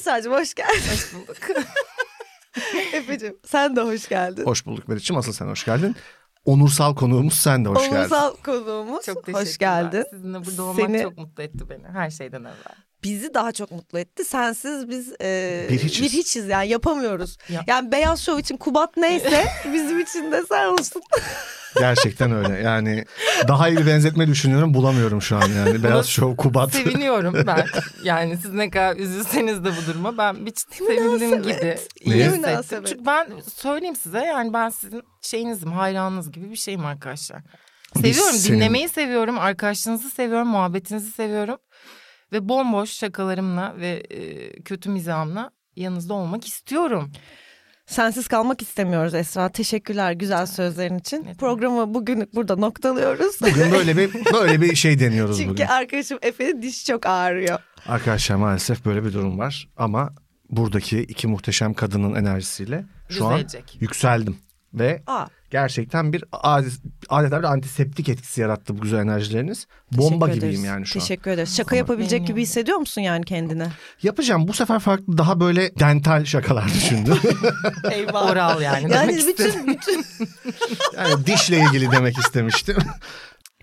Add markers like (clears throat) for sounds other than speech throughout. Sedacığım hoş geldin. Hoş bulduk. Efe'cim (laughs) sen de hoş geldin. Hoş bulduk Meriç'im. Asıl sen hoş geldin. Onursal konuğumuz sen de hoş geldin. Onursal konuğumuz. (laughs) Çok teşekkürler. hoş geldin. Sizinle burada olmak Seni- çok mutlu etti beni her şeyden evvel. Bizi daha çok mutlu etti. Sensiz biz e, Bir hiçiz. yani yapamıyoruz. Ya. Yani Beyaz Şov için Kubat neyse (laughs) bizim için de sen olsun. Gerçekten öyle. Yani daha iyi bir benzetme düşünüyorum bulamıyorum şu an yani. Beyaz Şov, Kubat. Seviniyorum ben. Yani siz ne kadar üzülseniz de bu duruma ben bir çi- sevindim gibi. iyi Niye? hissettim. Münasebet. Çünkü ben söyleyeyim size yani ben sizin şeyinizim, hayranınız gibi bir şeyim arkadaşlar. Biz Seviyorum, senin- dinlemeyi seviyorum, arkadaşlığınızı seviyorum, muhabbetinizi seviyorum. Ve bomboş şakalarımla ve e, kötü mizahımla yanınızda olmak istiyorum. Sensiz kalmak istemiyoruz Esra. Teşekkürler güzel sözlerin için. demek. Programı bugün burada noktalıyoruz. Bugün böyle bir böyle bir şey (laughs) deniyoruz Çünkü bugün. arkadaşım Efe'nin dişi çok ağrıyor. Arkadaşlar maalesef böyle bir durum var ama buradaki iki muhteşem kadının enerjisiyle şu an Düzelecek. yükseldim ve Aa, gerçekten bir adeta, adeta bir antiseptik etkisi yarattı bu güzel enerjileriniz. Bomba teşekkür gibiyim ederiz. yani şu an. Teşekkür ederiz. Şaka yapabilecek gibi hissediyor musun yani kendine? Yapacağım bu sefer farklı daha böyle dental şakalar düşündüm. (laughs) Eyvah. Oral yani. Yani demek istedim. bütün, bütün yani dişle ilgili demek istemiştim. (laughs)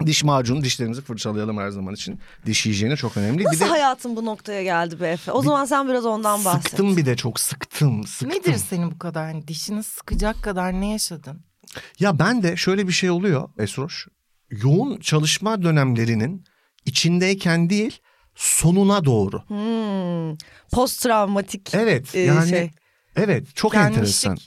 Diş macunu dişlerimizi fırçalayalım her zaman için. Diş hijyeni çok önemli. nasıl bir de hayatın bu noktaya geldi be Efe? O zaman sen biraz ondan bahset. sıktım bir de çok sıktım sıktım. Nedir senin bu kadar hani dişini sıkacak kadar ne yaşadın? Ya ben de şöyle bir şey oluyor Esroş. Yoğun çalışma dönemlerinin içindeyken değil sonuna doğru. Hmm. Post travmatik. Evet Ee, yani şey. evet çok Gelmişlik. enteresan.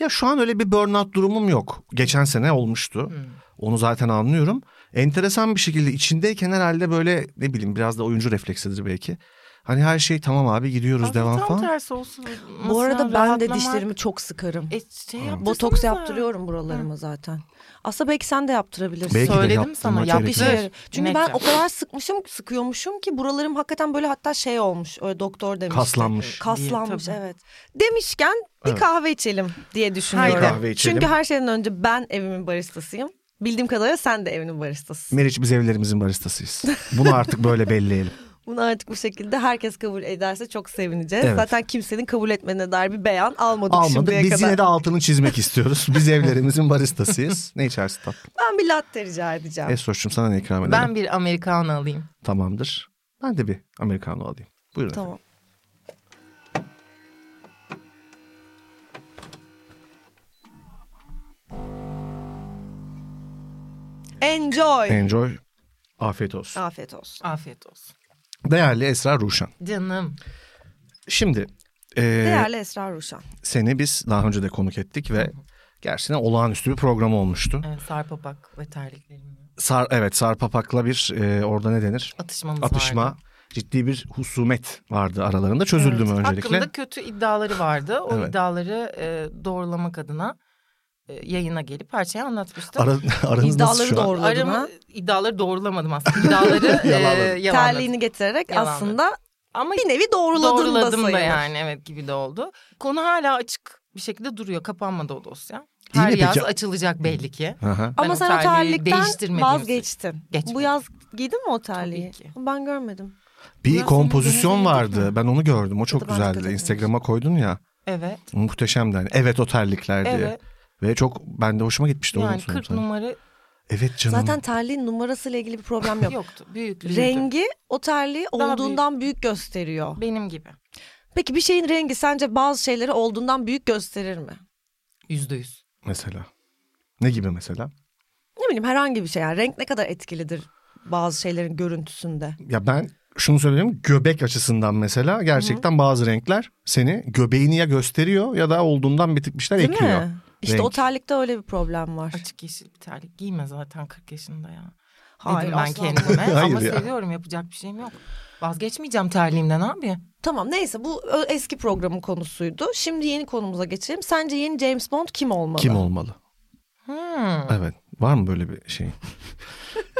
Ya şu an öyle bir burnout durumum yok. Geçen sene olmuştu. Hmm. Onu zaten anlıyorum. Enteresan bir şekilde içindeyken herhalde böyle ne bileyim biraz da oyuncu refleksidir belki. Hani her şey tamam abi gidiyoruz Abi devam tam falan. tersi olsun. Bu Mesela arada ben de rahatlamak- dişlerimi çok sıkarım. E, şey yaptırsana. Botoks yaptırıyorum buralarıma zaten. Aslında belki sen de yaptırabilirsin. Belki de Söyledim yaptırmak sana gerekir. yaptır. Hayır. Çünkü ben Net o kadar sıkmışım, sıkıyormuşum ki buralarım hakikaten böyle hatta şey olmuş. Öyle doktor demişti. Kaslanmış. Kaslanmış Diye, tabii. evet. Demişken bir Evet. kahve içelim diye düşünüyorum. Haydi. Kahve içelim. Çünkü her şeyden önce ben evimin baristasıyım. Bildiğim kadarıyla sen de evinin baristasısın. Meriç biz evlerimizin baristasıyız. Bunu artık (laughs) böyle belleyelim. Bunu artık bu şekilde herkes kabul ederse çok sevineceğiz. Evet. Zaten kimsenin kabul etmediğine dair bir beyan almadık Almadık. şimdiye Biz kadar. yine de altını çizmek istiyoruz. Biz evlerimizin baristasıyız. Ne içersin tatlım? Ben bir latte rica edeceğim. Esroş'cum sana ne ikram edelim? Ben bir Amerikan alayım. Tamamdır. Ben de bir Americano alayım. Buyurun efendim. Tamam. Enjoy. Enjoy. Afiyet olsun. Afiyet olsun. Afiyet olsun. Değerli Esra Ruşan. Canım. Şimdi e, Değerli Esra Ruşan. seni biz daha önce de konuk ettik ve gerçekten olağanüstü bir program olmuştu. Ee, Evet, sarpapak ve terliklerimle. Sar, evet Sarpapak'la bir e, orada ne denir? Atışmamız Atışma. vardı. Ciddi bir husumet vardı aralarında. Çözüldü mü öncelikle? Hakkında kötü iddiaları vardı. O Evet. iddiaları e, doğrulamak adına e, yayına gelip her şeyi anlatmıştım. Ara, (laughs) aranız nasıl İddiaları şu an? doğruladın ha? Aramı, iddiaları doğrulamadım aslında. (laughs) İddiaları e, Yalanladım. yalanladım. Terliğini getirerek Yalanladı. aslında Ama bir nevi doğruladın da doğruladım da, sayılır. yani evet gibi de oldu. Konu hala açık bir şekilde duruyor. Kapanmadı o dosya. İyi Her mi yaz peki? açılacak belli ki. Aha. Ama Ben o sen o terliği terlikten değiştirmediğim vazgeçtin. Geçmedim. Bu yaz giydin mi o terliği? ki. Ben görmedim. Bir Biraz kompozisyon senin vardı. Ben onu gördüm. O Ya çok da ben dikkat güzeldi. etmemiştim. Instagram'a koydun ya. Evet. Muhteşemdi. Hani. Evet o terlikler diye. Evet. Ve çok ben de hoşuma gitmişti. o Yani sonu 40 tabii. numara Evet canım. Zaten terliğin numarasıyla ilgili bir problem (laughs) yok. yoktu. Büyüklüğüydü. Rengi o terliği Daha olduğundan büyük gösteriyor. Benim gibi. Peki bir şeyin rengi sence bazı şeyleri olduğundan büyük gösterir mi? Yüzde yüz. Mesela. Ne gibi mesela? Ne bileyim herhangi bir şey yani renk ne kadar etkilidir bazı şeylerin görüntüsünde. Ya ben şunu söyleyeyim. Göbek açısından mesela gerçekten bazı renkler seni göbeğini ya gösteriyor ya da olduğundan bir tık bir şeyler Değil ekliyor. mi? İşte Renk. o terlikte öyle bir problem var. Açık yeşil bir terlik. Giyme zaten 40 yaşında ya. Hayır, Dedim ben asla. kendime. (laughs) Hayır Ama ya. seviyorum yapacak bir şeyim yok. Vazgeçmeyeceğim terliğimden abi. (laughs) Tamam neyse bu ö- eski programın konusuydu. Şimdi yeni konumuza geçelim. Sence yeni James Bond kim olmalı? Kim olmalı? Hmm. Evet. Var mı böyle (laughs) bir şey?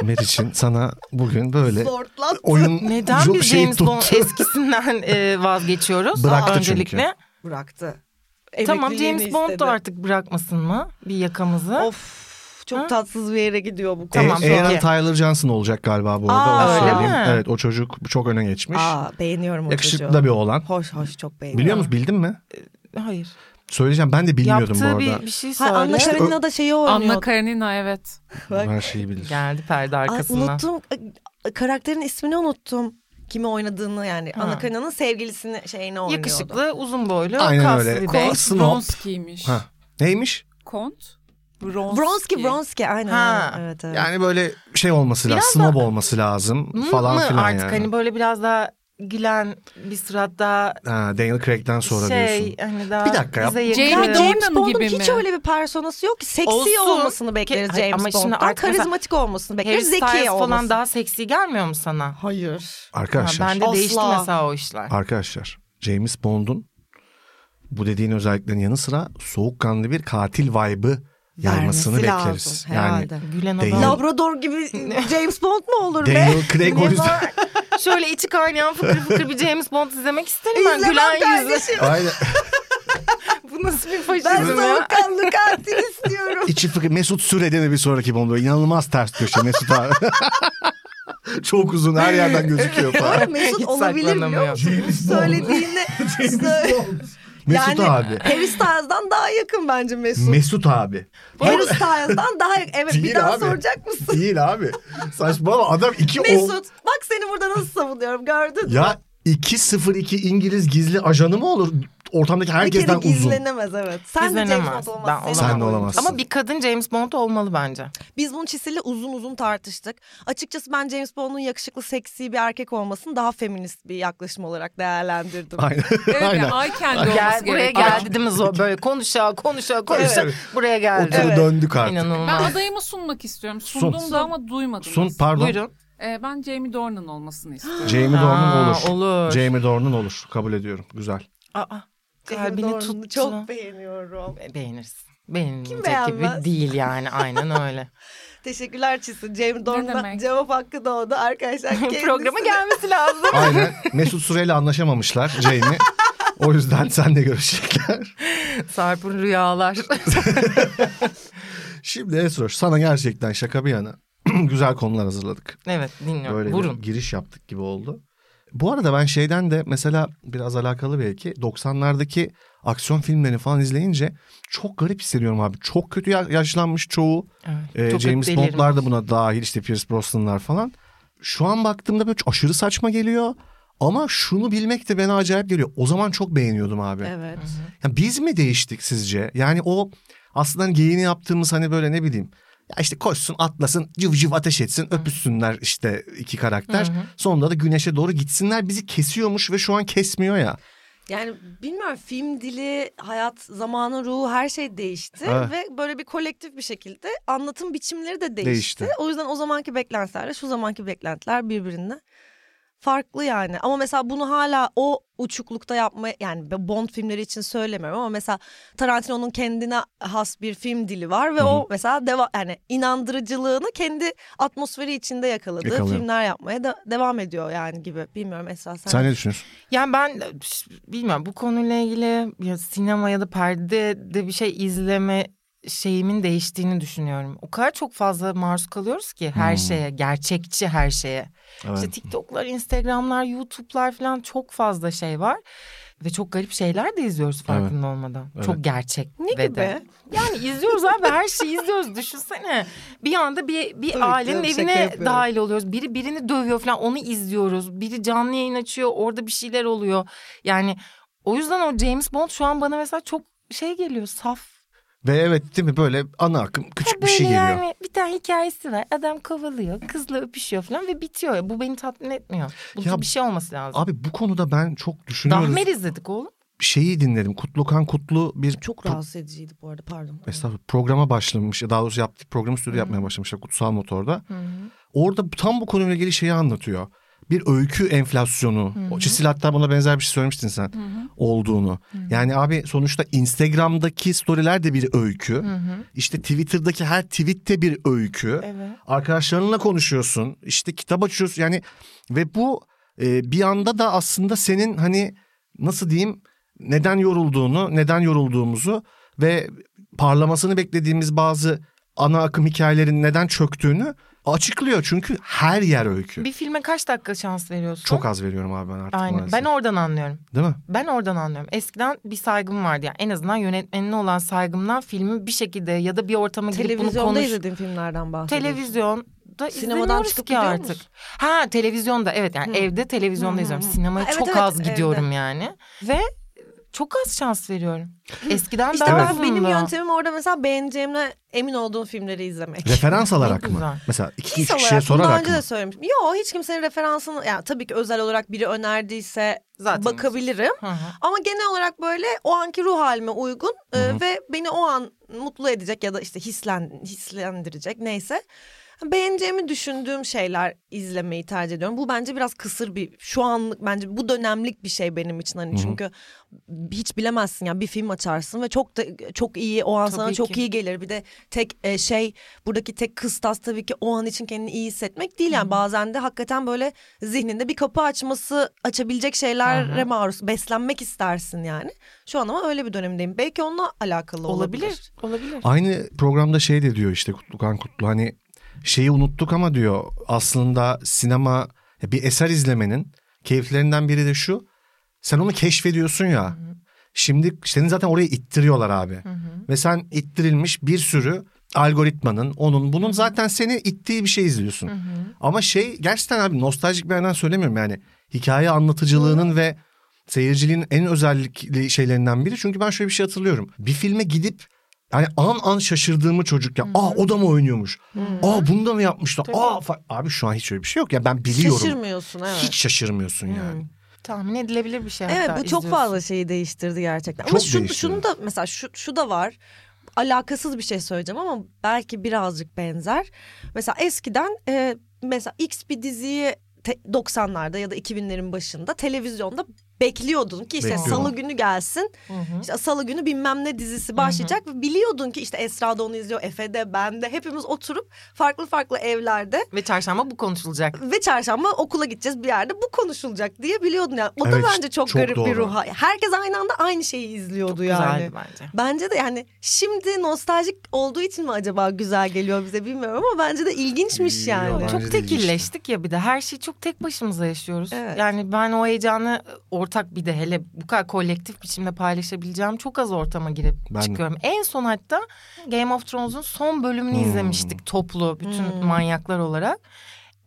Meriç'in sana bugün böyle Zortlat. oyun Neden çok biz şey James tuttu. Bond eskisinden e, vazgeçiyoruz? Bıraktı çünkü. öncelikle. Bıraktı. Tamam Emekliliğini James Bond istedi. da artık bırakmasın mı bir yakamızı? Of Of çok Ha? tatsız bir yere gidiyor bu konu. Tamam, E, Aaron peki. Tyler Johnson olacak galiba bu arada. Aa, onu öyle söyleyeyim. mi? Evet o çocuk çok öne geçmiş. Aa beğeniyorum o Yakışıklı çocuğu. da bir oğlan. Hoş hoş çok beğeniyorum. Biliyor musun bildin mi? Hayır. Söyleyeceğim ben de bilmiyordum bu Yaptığı arada. bir, bir şey Ha, söyle. Anna Karenina'da şeyi Anna oynuyor. Karenina evet. Bak. Her şeyi bilir. Geldi perde Ay, arkasından. unuttum Ay, karakterin ismini unuttum. Kimi oynadığını yani. Ha. Anna Karenina'nın sevgilisini şeyini oynuyordu. Yakışıklı, uzun boylu, Aynen kaslı öyle. bir bey. Kont Snop. Bronski'ymiş. Ha. Neymiş? Kont Bronski. Bronski Bronski aynen. Ha. aynen. Evet, evet. Yani böyle şey olması Biraz lazım. Snob olması lazım Mı- falan mı filan artık yani. hani böyle biraz daha gülen bir sırat daha Ha, Daniel Craig'den sonra şey diyorsun. hani daha Bir dakika ya. bize Ya Jamie yakın. Dornan James Bond'un gibi hiç mi? öyle bir personası yok ki. Seksi Olsun. olmasını bekleriz Ke- Ay, James ama şimdi Bond'dan. artık mesela Karizmatik olmasını Harry bekleriz. Styles Zeki olmasını. falan daha seksi gelmiyor mu sana? Hayır. Arkadaşlar. Ha, ben de Asla. değişti mesela o işler. Arkadaşlar James Bond'un bu dediğin özelliklerin yanı sıra soğukkanlı bir katil vibe'ı yaymasını Vermesi lazım, bekleriz. yani herhalde. Gülen Değil. adam. Labrador (laughs) gibi James Bond mu olur be? Daniel Craig o Ne yüzden. Şöyle içi kaynayan fıkır fıkır bir James Bond izlemek isterim ben. İzlemem Gülen yüzü. kardeşim. (laughs) Aynen. (laughs) Bu nasıl bir Ben faşizm ya? soğukkanlı katil (laughs) istiyorum. İçi fıkır. Mesut Süre'de de bir sonraki bomba. İnanılmaz ters köşe Mesut abi. (laughs) Çok uzun her yerden (laughs) gözüküyor (laughs) falan. Mesut Hiç olabilir biliyor saklanamıyor. musun? (laughs) Söylediğinde Mesut Yani- abi. Harry Styles'dan daha yakın bence Mesut. Mesut abi. Harry Styles'dan daha yakın. Evet Değil bir daha abi. soracak mısın? (laughs) Değil abi. Saçmalama adam iki o. Mesut bak seni burada nasıl savunuyorum gördün mü? Ya 202 İngiliz gizli ajanı mı olur? Ortamdaki Bir kere herkesten uzun. gizlenemez evet. Sen de James İzlenemez. Bond Ben olamazsın. olamam. Sen de olamazsın. Ama bir kadın James Bond olmalı bence. Biz bunu Çisil'le uzun uzun tartıştık. Açıkçası ben James Bond'un yakışıklı seksi bir erkek olmasını daha feminist bir yaklaşım olarak değerlendirdim. Aynen. Evet Aynen. yani ay Gel, kendi olması buraya gerekiyor. geldi değil mi Zo? Böyle konuşa konuşa konuşa Evet. buraya geldi. Otur döndük artık. Ben İnanılmaz. adayımı sunmak istiyorum. Sundum Sun. da ama duymadınız. Sun pardon. Buyurun. Ee, ben Jamie Dornan olmasını istiyorum. Jamie Dornan Aa, olur. olur. Jamie Dornan olur. Kabul ediyorum. Güzel. Aa, James kalbini Bond'u tuttu. Çok beğeniyorum. Be- Beğenirsin. Beğenilmeyecek beğenmez? gibi değil yani aynen (laughs) öyle. Teşekkürler Çisil. James Dorn'dan demek? cevap hakkı doğdu arkadaşlar. (laughs) Programa kendisine- gelmesi lazım. (laughs) Aynen. Mesut Süreyle anlaşamamışlar Jamie. O yüzden senle görüşecekler. Sarp'ın rüyalar. Şimdi Esroş sana gerçekten şaka bir yana (clears throat) güzel konular hazırladık. evet dinliyorum. Böyle Vurun. bir giriş yaptık gibi oldu. Bu arada ben şeyden de mesela biraz alakalı belki 90'lardaki aksiyon filmlerini falan izleyince çok garip hissediyorum abi. Çok kötü ya- yaşlanmış çoğu. Evet, Ee, çok James delirmiş. Bond'lar da buna dahil işte Pierce Brosnan'lar falan. Şu an baktığımda böyle aşırı saçma geliyor. Ama şunu bilmek de bana acayip geliyor. O zaman çok beğeniyordum abi. Evet. Ya biz mi değiştik sizce? Yani o aslında hani geyini yaptığımız hani böyle ne bileyim. Ya işte koşsun atlasın cıv cıv ateş etsin öpüşsünler işte iki karakter. Sonunda da güneşe doğru gitsinler bizi kesiyormuş ve şu an kesmiyor ya. Yani bilmiyorum film dili, hayat, zamanın ruhu her şey değişti. Evet. Ve böyle bir kolektif bir şekilde anlatım biçimleri de değişti. Değişti. O yüzden o zamanki beklentilerle şu zamanki beklentiler birbirinden farklı yani. Ama mesela bunu hala o uçuklukta yapma yani Bond filmleri için söylemiyorum ama mesela Tarantino'nun kendine has bir film dili var ve o mesela deva yani inandırıcılığını kendi atmosferi içinde yakaladığı Yakalıyor. filmler yapmaya da devam ediyor yani gibi. Bilmiyorum Esra sen. Sen ne düşünüyorsun? Yani ben e, ş- bilmiyorum bu konuyla ilgili ya sinema ya da perdede bir şey izleme şeyimin değiştiğini düşünüyorum. O kadar çok fazla maruz kalıyoruz ki her Hmm. şeye, gerçekçi her şeye. İşte TikTok'lar, Instagram'lar, YouTube'lar falan çok fazla şey var. Ve çok garip şeyler de izliyoruz farkında olmadan. Evet. Çok gerçek Ne ve gibi? de. Yani izliyoruz abi her şeyi izliyoruz düşünsene. Bir anda bir bir Tabii ki ailenin canım, şaka evine yapıyorum. dahil oluyoruz. Biri birini dövüyor falan onu izliyoruz. Biri canlı yayın açıyor orada bir şeyler oluyor. Yani o yüzden o James Bond şu an bana mesela çok şey geliyor saf. Ve evet değil mi böyle ana akım küçük bir şey Böyle geliyor. Yani bir tane hikayesi var. Adam kovalıyor, kızla öpüşüyor falan ve bitiyor. Bu beni tatmin etmiyor. Bu Ya- bir şey olması lazım. Abi bu konuda ben çok düşünüyorum. Dahmer izledik oğlum. Şeyi dinledim. Kutlukan Kutlu bir Çok rahatsız ediciydi bu arada pardon. Estağfurullah programa başlamış. Daha doğrusu yaptık programı stüdyo yapmaya başlamışlar Kutsal Motor'da. Orada tam bu konuyla ilgili şeyi anlatıyor. Bir öykü enflasyonu. O Çisil hatta buna benzer bir şey söylemiştin sen. Olduğunu. Yani abi sonuçta Instagram'daki storyler de bir öykü. İşte Twitter'daki her tweet de bir öykü. Evet. Arkadaşlarınla konuşuyorsun. işte kitap açıyorsun. Yani ve bu e, bir anda da aslında senin hani nasıl diyeyim neden yorulduğunu, neden yorulduğumuzu ve parlamasını beklediğimiz bazı ana akım hikayelerin neden çöktüğünü açıklıyor. Çünkü her yer öykü. Bir filme kaç dakika şans veriyorsun? Çok az veriyorum abi ben artık Aynen. maalesef. Ben oradan anlıyorum. (laughs) Değil mi? Ben oradan anlıyorum. Eskiden bir saygım vardı yani en azından yönetmenine olan saygımdan filmi bir şekilde ya da bir ortama girip bunu Televizyonda konuş. izlediğim filmden bahsediyorum. Televizyonda Sinemadan izlemiyoruz çıkıp ki gidiyor artık. musun? Ha televizyonda evet yani evde televizyonda izliyorum. Sinemaya Ha, evet, çok evet, az evde. gidiyorum yani. Ve çok az şans veriyorum. Eskiden İşte daha ben benim azındı. yöntemim orada mesela beğeneceğimle emin olduğum filmleri izlemek. (laughs) Referans alarak Ne mı? güzel. Mesela iki üç His kişiye olarak, bunu daha sorarak önce mı? de söylemiştim. Yo hiç kimsenin referansını yani tabii ki özel olarak biri önerdiyse Zaten bakabilirim. Hı hı. Ama genel olarak böyle o anki ruh halime uygun e, ve beni o an mutlu edecek ya da işte hislen, hislendirecek neyse. Beğeneceğimi düşündüğüm şeyler izlemeyi tercih ediyorum. Bu bence biraz kısır bir şu anlık bence bu dönemlik bir şey benim için hani çünkü hiç bilemezsin ya bir film açarsın ve çok da çok iyi o an sana Tabii çok ki. iyi gelir. Bir de tek e, şey buradaki tek kıstas tabii ki o an için kendini iyi hissetmek değil yani bazen de hakikaten böyle zihninde bir kapı açması açabilecek şeylere maruz beslenmek istersin yani. Şu an ama öyle bir dönemdeyim. Belki onunla alakalı olabilir. Olabilir. Olabilir. Aynı programda şey de diyor işte Kutlukan Kutlu hani şeyi unuttuk ama diyor aslında sinema bir eser izlemenin keyiflerinden biri de şu. Sen onu keşfediyorsun ya. Şimdi seni zaten oraya ittiriyorlar abi. Ve sen ittirilmiş bir sürü algoritmanın onun bunun zaten seni ittiği bir şey izliyorsun. Ama şey gerçekten abi nostaljik bir yerden söylemiyorum yani hikaye anlatıcılığının ve seyirciliğin en özellikli şeylerinden biri. Çünkü ben şöyle bir şey hatırlıyorum. Bir filme gidip yani an an şaşırdığımı çocukken aa o da mı oynuyormuş? Aa bunu da mı yapmışlar? Aa fa- abi şu an hiç öyle bir şey yok ya ben biliyorum. Şaşırmıyorsun evet. Hiç şaşırmıyorsun yani. Tahmin edilebilir bir şey Evet hatta bu çok izliyorsun. fazla şeyi değiştirdi gerçekten. Ama Çok şu, değiştirdi. şunu da mesela şu, şu da var. Alakasız bir şey söyleyeceğim ama belki birazcık benzer. Mesela eskiden e, mesela X bir diziyi te- 90'larda ya da 2000'lerin başında televizyonda bekliyordun ki işte Bekliyordum. salı günü gelsin. İşte salı günü bilmem ne dizisi başlayacak ve biliyordun ki işte Esra da onu izliyor, Efe de, ben de hepimiz oturup farklı farklı evlerde Ve çarşamba bu konuşulacak. ve çarşamba okula gideceğiz bir yerde bu konuşulacak diye biliyordun yani. O da Evet, bence çok, çok garip bir doğru. ruha. Herkes aynı anda aynı şeyi izliyordu yani. Güzeldi bence. Bence de yani şimdi nostaljik olduğu için mi acaba güzel geliyor bize bilmiyorum ama bence de ilginçmiş yani. Yok, Bence Çok de ilginçti. tekilleştik ya bir de her şeyi çok tek başımıza yaşıyoruz. Evet. Yani ben o heyecanı ortak bir de hele bu kadar kolektif biçimde paylaşabileceğim çok az ortama girip Ben de. çıkıyorum. En son hatta Game of Thrones'un son bölümünü Hmm. izlemiştik toplu bütün manyaklar olarak.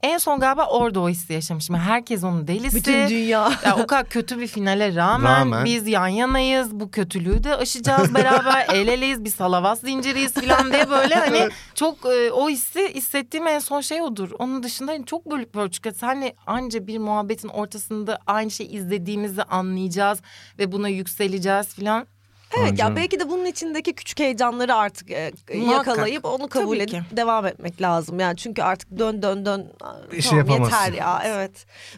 En son galiba orada o hissi yaşamışım. Herkes onun delisi. Bütün dünya. Ya o kadar kötü bir finale rağmen, Rağmen. biz yan yanayız. Bu kötülüğü de aşacağız (laughs) beraber. el eleyiz. Bir salavas zinciriyiz falan diye böyle hani çok e, o hissi hissettiğim en son şey odur. Onun dışında hani çok bölük pörçük. Senle anca bir muhabbetin ortasında aynı şey izlediğimizi anlayacağız ve buna yükseleceğiz falan. evet ya Bence- belki de bunun içindeki küçük heyecanları artık e, Muhakkak. yakalayıp onu kabul Tabii edip devam etmek lazım. Yani çünkü artık dön dön dön e, Bir şey tamam, yapamazsın. yeter ya evet.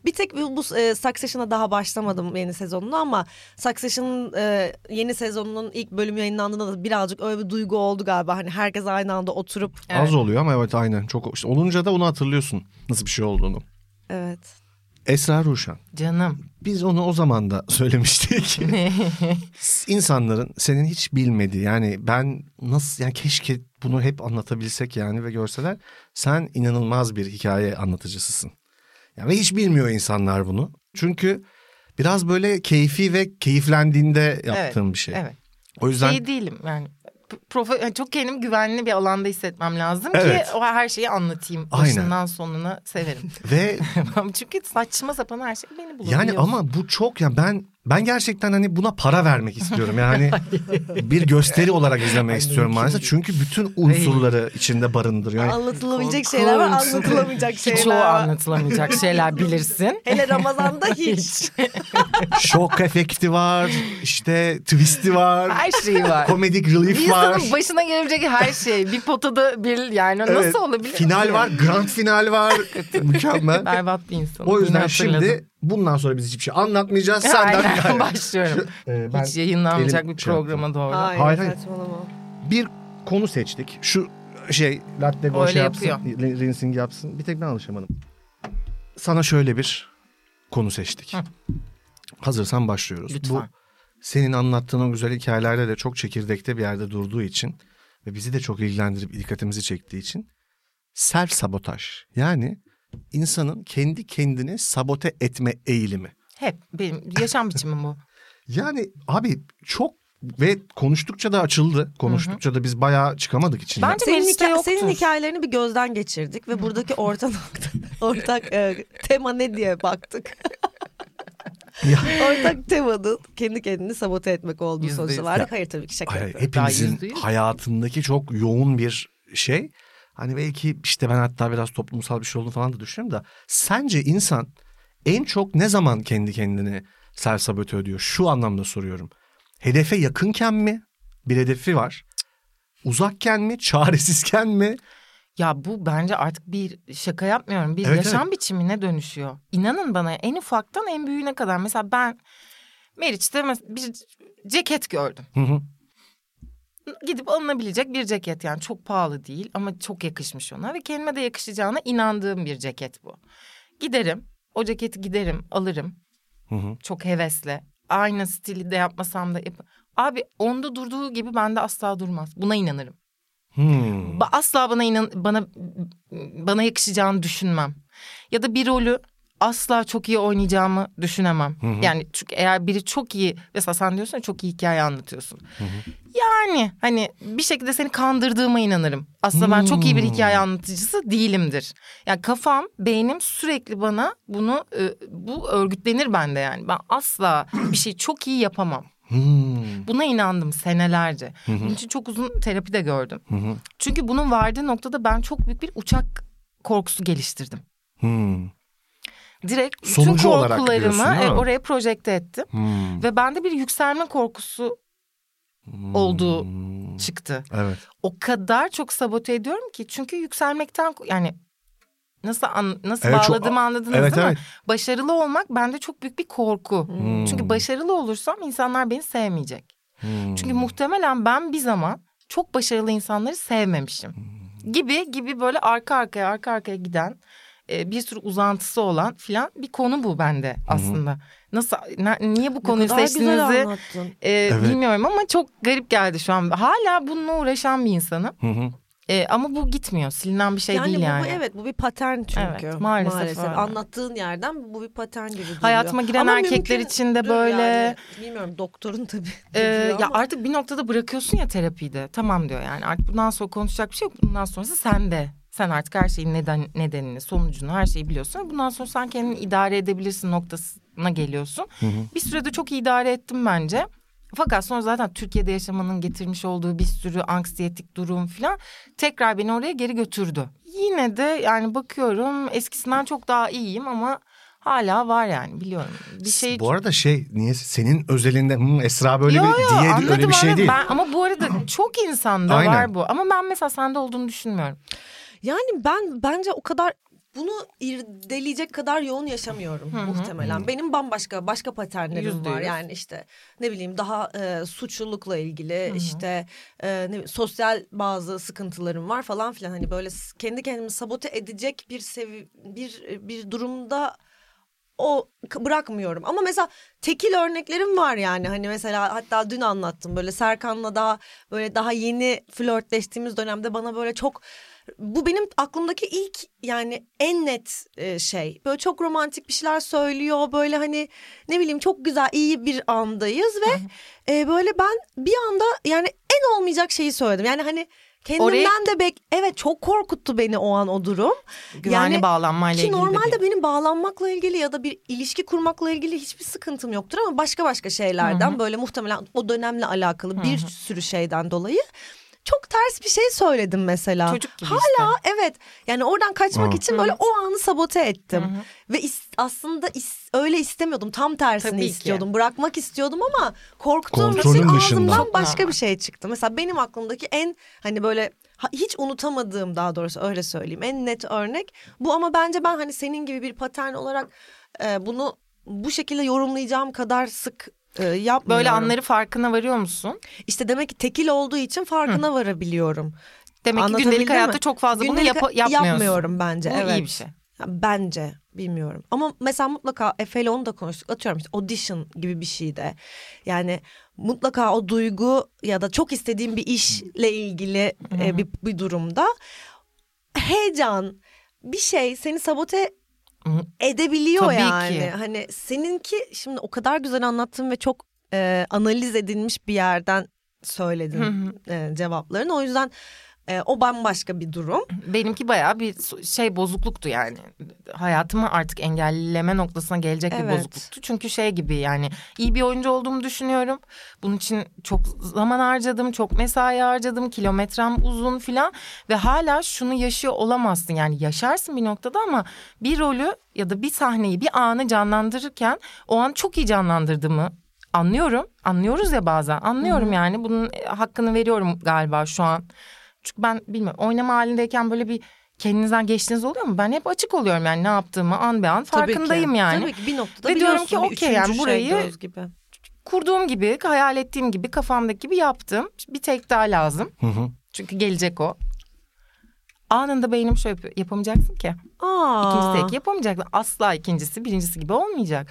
Bir tek bu, bu e, Succession'a daha başlamadım yeni sezonunu ama Succession'ın e, yeni sezonunun ilk bölümü yayınlandığında da birazcık öyle bir duygu oldu galiba. Hani herkes aynı anda oturup Evet. Az oluyor ama evet aynen çok işte olunca da onu hatırlıyorsun nasıl bir şey olduğunu. evet. Esra Ruşen. Canım. Biz onu o zaman da (laughs) (laughs) söylemiştik. İnsanların senin hiç bilmediği yani ben nasıl yani keşke bunu hep anlatabilsek yani ve görseler. Sen inanılmaz bir hikaye anlatıcısısın. Yani ve hiç bilmiyor insanlar bunu. Çünkü biraz böyle keyfi ve keyiflendiğinde yaptığım bir şey. Evet. O yüzden Şey değilim yani. P- Profe- yani çok kendim güvenli bir alanda hissetmem lazım Evet. ki o her şeyi anlatayım. Aynen. Başından sonuna (laughs) severim. ve (laughs) Çünkü saçma sapan her şey beni bulabiliyor. Yani ama bu çok ya ben ben gerçekten hani buna para vermek istiyorum. Yani bir gösteri olarak izlemek istiyorum maalesef. Çünkü bütün unsurları içinde barındırıyor. Yani Anlatılabilecek şeyler var, korkunç. anlatılamayacak şeyler Çoğu var. (laughs) anlatılamayacak şeyler bilirsin. Hele Ramazan'da hiç. şok efekti var, işte twist'i var, Her şeyi var. komedik Bir relief var. insanın başına gelebilecek her şey. Bir potada bir yani Evet, nasıl olabilir? Final var, grand (laughs) final var. Mükemmel. Berbat bir insan. O yüzden Bunu hatırladım. şimdi bundan sonra biz hiçbir şey anlatmayacağız. (laughs) Senden Aynen gayrı. başlıyorum. Ee, ben Hiç yayınlanmayacak elim bir şey programa doğru. Hayır, Hayır, hayır. saçmalama. bir konu seçtik. Şu şey latte gauche Öyle yapsın, yapıyor. rin- rinsing yapsın. Bir tek ben alışamadım. Sana şöyle bir konu seçtik. Hı. Hazırsan başlıyoruz. Lütfen. Bu senin anlattığın o güzel hikayelerde de çok çekirdekte bir yerde durduğu için ve bizi de çok ilgilendirip dikkatimizi çektiği için self sabotaj. Yani insanın kendi kendini sabote etme eğilimi. Hep benim yaşam biçimim bu. Yani abi çok ve konuştukça da açıldı. Konuştukça da biz bayağı çıkamadık içinden. Bence Senin, Melis'te hika- yoktur. senin hikayelerini bir gözden geçirdik ve buradaki orta nokta, (laughs) ortak e, tema ne diye (laughs) baktık. Ya. ortak temanın kendi kendini sabote etmek olduğu Yüzde sonucu yüz. vardık. Hayır tabii ki şaka Hayır, yapıyorum. Daha hepimizin yüz değil. hayatındaki çok yoğun bir şey. Hani belki işte ben hatta biraz toplumsal bir şey olduğunu falan da düşünüyorum da. Sence insan en çok ne zaman kendi kendini self sabote ediyor? Şu anlamda soruyorum. Hedefe yakınken mi? Bir hedefi var. Uzakken mi? Çaresizken mi? Ya bu bence artık bir şaka yapmıyorum. Bir Evet, yaşam biçimine dönüşüyor. İnanın bana en ufaktan en büyüğüne kadar. Mesela ben Meriç'te mes- bir ceket gördüm. Hı hı. Gidip alınabilecek bir ceket yani çok pahalı değil ama çok yakışmış ona ve kendime de yakışacağına inandığım bir ceket bu. Giderim o ceketi giderim alırım Hı hı. çok hevesle. Aynı stili de yapmasam da yap- Abi onda durduğu gibi bende asla durmaz. Buna inanırım. Hmm. Ba- asla bana inan bana bana yakışacağını düşünmem. Ya da bir rolü asla çok iyi oynayacağımı düşünemem. Yani çünkü eğer biri çok iyi mesela sen diyorsun ya, çok iyi hikaye anlatıyorsun. Yani hani bir şekilde seni kandırdığıma inanırım. Aslında ben çok iyi bir hikaye anlatıcısı değilimdir. Yani kafam, beynim sürekli bana bunu e, bu örgütlenir bende yani. Ben asla bir şey çok iyi yapamam. Hmm. Buna inandım senelerce. Bunun için çok uzun terapi de gördüm. Hı hı. Çünkü bunun vardığı noktada ben çok büyük bir uçak korkusu geliştirdim. Hmm. Direkt Sonucu bütün olarak korkularımı diyorsun, e, değil mi? oraya projekte ettim. Hmm. Ve bende bir yükselme korkusu olduğu Hmm. çıktı. Evet. O kadar çok sabote ediyorum ki çünkü yükselmekten yani nasıl an- nasıl Evet, çok- bağladığımı anladınız Evet, değil mi? evet. Başarılı olmak bende çok büyük bir korku. Çünkü başarılı olursam insanlar beni sevmeyecek. Hmm. Çünkü muhtemelen ben bir zaman çok başarılı insanları sevmemişim. Hmm. Gibi gibi böyle arka arkaya arka arkaya giden e, bir sürü uzantısı olan filan bir konu bu bende aslında. Nasıl ne- niye bu konuyu Ne kadar güzel seçtiğinizi anlattın. e, Evet. bilmiyorum ama çok garip geldi şu an. Hala bununla uğraşan bir insanım. Hı hı. E, ama bu gitmiyor. Silinen bir şey yani değil bu, yani. bu evet bu bir patern çünkü. Evet, maalesef öyle. Anlattığın yerden bu bir patern gibi duruyor. Hayatıma giren Ama erkekler mümkün- için de Dur böyle. yani, bilmiyorum doktorun tabii. Ee, dediği ya ama- artık bir noktada bırakıyorsun ya terapiyi de. Tamam diyor yani artık bundan sonra konuşacak bir şey yok. Bundan sonrası sende. Sen artık her şeyin neden nedenini, sonucunu, her şeyi biliyorsun. Bundan sonra sen kendini idare edebilirsin noktasına geliyorsun. Bir sürede çok iyi idare ettim bence. Fakat sonra zaten Türkiye'de yaşamanın getirmiş olduğu bir sürü anksiyetik durum falan tekrar beni oraya geri götürdü. Yine de yani bakıyorum eskisinden çok daha iyiyim ama hala var yani biliyorum. Bir şey Bu arada şey niye senin özelinde "Hmm, Esra böyle Yo, bir yo, diye anladım, öyle bir şey anladım. değil. Ben- ama bu (clears throat) arada çok insanda Aynen. var bu. Ama ben mesela sende olduğunu düşünmüyorum. Yani ben bence o kadar bunu irdeleyecek kadar yoğun yaşamıyorum muhtemelen. Benim bambaşka başka paternlerim Yüzde var. yüz. Yani işte ne bileyim daha e, suçlulukla ilgili işte e, ne bileyim, sosyal bazı sıkıntılarım var falan filan. Hani böyle s- kendi kendimi sabote edecek bir sevi bir bir durumda o k- bırakmıyorum. Ama mesela tekil örneklerim var yani. Hani mesela hatta dün anlattım böyle Serkan'la daha böyle daha yeni flörtleştiğimiz dönemde bana böyle çok bu benim aklımdaki ilk yani en net e, şey. Böyle çok romantik bir şeyler söylüyor. Böyle hani ne bileyim çok güzel iyi bir andayız ve e, böyle ben bir anda yani en olmayacak şeyi söyledim. Yani hani kendimden de bek evet çok korkuttu beni o an o durum. Güvenli Yani- bağlanmayla Ki ilgili. de normalde değil. benim bağlanmakla ilgili ya da bir ilişki kurmakla ilgili hiçbir sıkıntım yoktur ama başka başka şeylerden böyle muhtemelen o dönemle alakalı bir sürü şeyden dolayı çok ters bir şey söyledim mesela. Çocuk gibi Hala evet yani oradan kaçmak Hı. için böyle o anı sabote ettim. Ve is- aslında is- öyle istemiyordum. Tam tersini Tabii ki. istiyordum. Bırakmak istiyordum ama korktuğum için Kontrolün dışında. ağzımdan Çok başka bir normal. şey çıktı. Mesela benim aklımdaki en hani böyle ha- hiç unutamadığım daha doğrusu öyle söyleyeyim en net örnek bu ama bence ben hani senin gibi bir patern olarak e, bunu bu şekilde yorumlayacağım kadar sık e, yapmıyorum. Böyle anları farkına varıyor musun? işte demek ki tekil olduğu için farkına varabiliyorum. Demek ki Anlatabildim gündelik hayatta mi? çok fazla bunu Gündelik yapa- yapmıyorsun. yapmıyorum bence. Bu evet. iyi bir şey. Ya Bence bilmiyorum. Ama mesela mutlaka Efe ile onu da konuştuk. Atıyorum işte audition gibi bir şey de. Yani mutlaka o duygu ya da çok istediğim bir işle ilgili e, bir, bir durumda heyecan bir şey seni sabote Hı. edebiliyor Tabii yani. ki. Hani seninki şimdi o kadar güzel anlattın ve çok e, analiz edilmiş bir yerden Hı söyledin hı. e, cevaplarını. O yüzden e, o bambaşka bir durum. Benimki bayağı bir su- şey bozukluktu yani. Hayatımı artık engelleme noktasına gelecek bir Evet. bozukluktu. Çünkü şey gibi yani iyi bir oyuncu olduğumu düşünüyorum. Bunun için çok zaman harcadım, çok mesai harcadım, kilometrem uzun filan. Ve hala şunu yaşıyor olamazsın yani yaşarsın bir noktada ama bir rolü ya da bir sahneyi bir anı canlandırırken o an çok iyi canlandırdığımı anlıyorum. Anlıyoruz ya bazen anlıyorum yani bunun e, hakkını veriyorum galiba şu an. Çünkü ben bilmiyorum oynama halindeyken böyle bir kendinizden geçtiğiniz oluyor mu? Ben hep açık oluyorum yani ne yaptığımı an be an farkındayım Tabii ki. yani. Tabii ki bir noktada Ve diyorum biliyorsun ki bir okey üçüncü yani şey burayı- göz gibi. Kurduğum gibi, hayal ettiğim gibi, kafamdaki gibi yaptım. Bir tek daha lazım. Hı hı. Çünkü gelecek o. Anında beynim şöyle yapıyor. Yapamayacaksın ki. Aa. İkincisi tek yapamayacaksın. Asla ikincisi birincisi gibi olmayacak.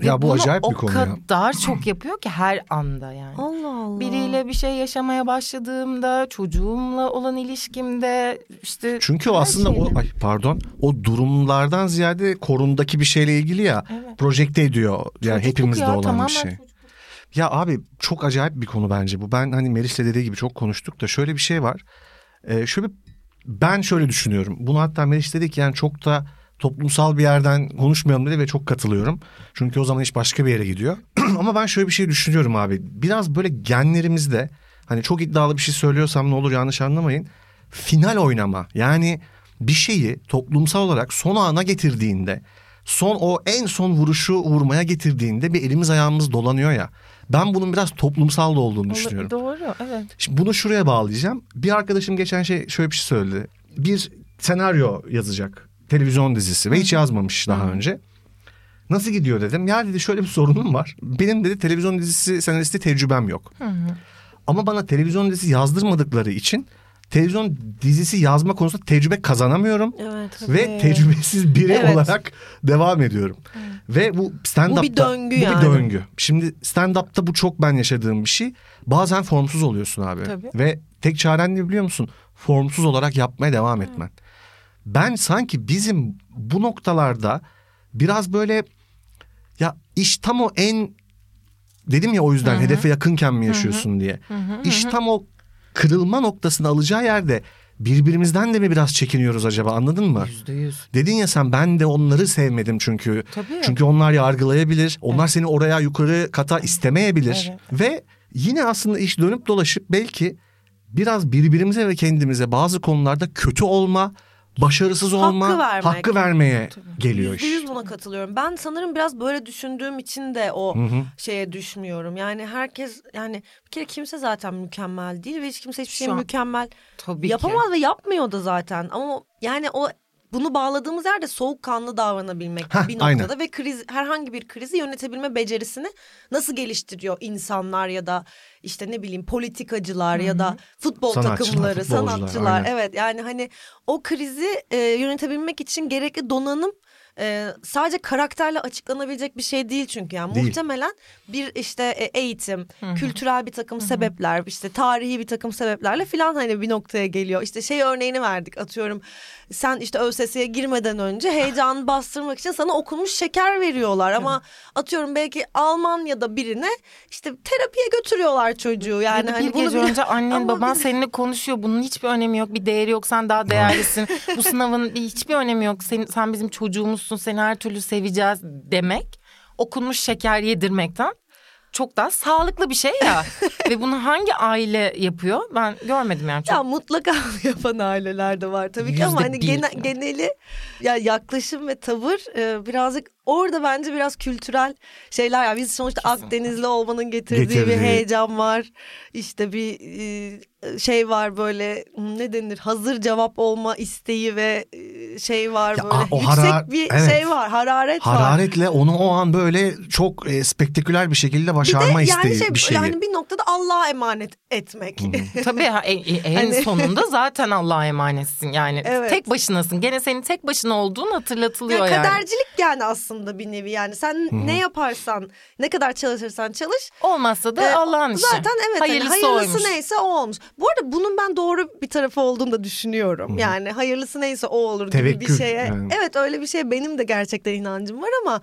Ve Ya bu bunu acayip bir konu ya. O kadar çok yapıyor ki her anda yani. Allah Allah. Biriyle bir şey yaşamaya başladığımda, çocuğumla olan ilişkimde işte Çünkü o her aslında o şeyde. ay pardon o durumlardan ziyade korumdaki bir şeyle ilgili ya projekte ediyor yani Çocukluk hepimizde ya, olan tamamen bir şey. çocukluk. Ya abi çok acayip bir konu bence bu. Ben hani Melis'le dediği gibi çok konuştuk da şöyle bir şey var. Ee, şöyle bir- ben şöyle düşünüyorum. Bunu hatta Melis dedi ki yani çok da toplumsal bir yerden konuşmayalım dedi ve çok katılıyorum. Çünkü o zaman iş başka bir yere gidiyor. (clears throat) Ama ben şöyle bir şey düşünüyorum abi. Biraz böyle genlerimizde hani çok iddialı bir şey söylüyorsam ne olur yanlış anlamayın. Final oynama yani bir şeyi toplumsal olarak son ana getirdiğinde son o en son vuruşu vurmaya getirdiğinde bir elimiz ayağımız dolanıyor ya. Ben bunun biraz toplumsal da olduğunu düşünüyorum. Doğru evet. Şimdi bunu şuraya bağlayacağım. Bir arkadaşım geçen şey şöyle bir şey söyledi. Bir senaryo yazacak televizyon dizisi ve hiç yazmamış daha önce. Nasıl gidiyor dedim. Ya dedi şöyle bir sorunum var. Benim dedi televizyon dizisi senaristi tecrübem yok. Ama bana televizyon dizisi yazdırmadıkları için televizyon dizisi yazma konusunda tecrübe kazanamıyorum. Evet. Ve tecrübesiz biri Evet. olarak devam ediyorum. Ve bu Bu stand-up'ta... bir döngü bu yani. bir döngü. Şimdi stand-up'ta bu çok ben yaşadığım bir şey. Bazen formsuz oluyorsun abi. Tabii. Ve tek çaren ne biliyor musun? Formsuz olarak yapmaya devam etmen. Ben sanki bizim bu noktalarda biraz böyle... Ya iş tam o en... Dedim ya o yüzden hedefe yakınken mi yaşıyorsun diye. İş tam o kırılma noktasını alacağı yerde birbirimizden de mi biraz çekiniyoruz acaba anladın mı? Yüzde yüz. Dedin ya sen ben de onları sevmedim çünkü. Tabii. Çünkü onlar yargılayabilir. Onlar seni oraya yukarı kata istemeyebilir. Evet. Ve yine aslında iş dönüp dolaşıp belki biraz birbirimize ve kendimize bazı konularda kötü olma, başarısız olma, vermek. hakkı vermeye geliyor Yüzde iş. yüz buna katılıyorum. Ben sanırım biraz böyle düşündüğüm için de o hı. şeye düşmüyorum. Yani herkes yani bir kere kimse zaten mükemmel değil ve hiç kimse hiçbir Şu şey an mükemmel Tabii ki. yapamaz ve yapmıyor da zaten. Ama yani o bunu bağladığımız yerde soğukkanlı davranabilmek Heh, bir noktada aynen. ve kriz herhangi bir krizi yönetebilme becerisini nasıl geliştiriyor insanlar ya da işte ne bileyim politikacılar ya da futbol Sanatçılar, takımları, futbolcular, sanatçılar. aynen. Evet yani hani o krizi e, yönetebilmek için gerekli donanım e, sadece karakterle açıklanabilecek bir şey değil çünkü yani Değil. muhtemelen bir işte e, eğitim, kültürel bir takım sebepler, işte tarihi bir takım sebeplerle filan hani bir noktaya geliyor. İşte şey örneğini verdik atıyorum. Sen işte ÖSS'ye girmeden önce heyecanını bastırmak için sana okunmuş şeker veriyorlar ama atıyorum belki Almanya'da birine işte terapiye götürüyorlar çocuğu. Yani Yani hani bir gece bile- (laughs) önce annen Ama baban biz- seninle konuşuyor. Bunun hiçbir önemi yok. Bir değeri yok. Sen daha değerlisin. (laughs) Bu sınavın bir- hiçbir önemi yok. Sen, sen bizim çocuğumuzsun. Seni her türlü seveceğiz demek. Okunmuş şeker yedirmekten çok daha sağlıklı bir şey (laughs) ya. Ve bunu hangi aile yapıyor? Ben görmedim yani çok. Ya mutlaka (laughs) yapan aileler de var tabii ki ama Yüzde hani bir gene- ya. geneli ya yaklaşım ve tavır e, birazcık orada bence biraz kültürel şeyler ya biz sonuçta Akdenizli olmanın getirdiği, Getirdiği. bir heyecan var. İşte bir e, şey var böyle hmm, ne denir hazır cevap olma isteği ve e, şey var Ya, böyle. a- o Yüksek harar- bir evet. şey var. Hararet var. Hararetle onu o an böyle çok e, spektaküler bir şekilde başarma isteği bir şeyi. yani bir noktada Allah'a emanet etmek. Tabii ha, e- e- en Hani- sonunda zaten Allah'a emanetsin yani. Evet. Tek başınasın. Gene senin tek başına olduğun Ya hatırlatılıyor yani. kadercilik yani aslında bir nevi yani sen ne yaparsan ne kadar çalışırsan çalış Olmazsa da e, Allah'ın işi. zaten evet hani Hayırlısı hayırlısı oymuş. neyse o olmuş. Bu arada bunun ben doğru bir tarafı olduğunu da düşünüyorum. Yani hayırlısı neyse o olur gibi Tevekkül bir şeye. yani. Evet öyle bir şeye benim de gerçekten inancım var ama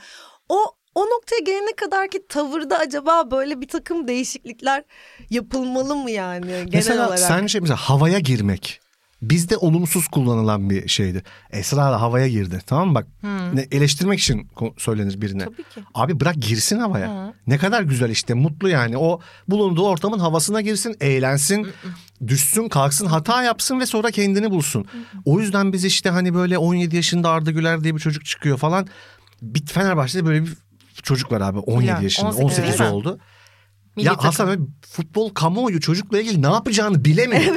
o o noktaya gelene kadar ki tavırda acaba böyle bir takım değişiklikler yapılmalı mı yani genel mesela olarak? sence mesela havaya girmek bizde olumsuz kullanılan bir şeydi. Esra da havaya girdi tamam mı bak ne, eleştirmek için ko- söylenir birine. Hmm. Tabii ki. Abi bırak girsin havaya. Ne kadar güzel işte mutlu yani o bulunduğu ortamın havasına girsin eğlensin düşsün kalksın hata yapsın ve sonra kendini bulsun. O yüzden biz işte hani böyle 17 yaşında Arda Güler diye bir çocuk çıkıyor falan. Bir Fenerbahçe'de böyle bir çocuk var abi 17 Güler, yaşında 18 18, değil mi? oldu. Milli ya takım. Hasan abi, futbol kamuoyu çocukla ilgili ne (laughs) yapacağını bilemiyor.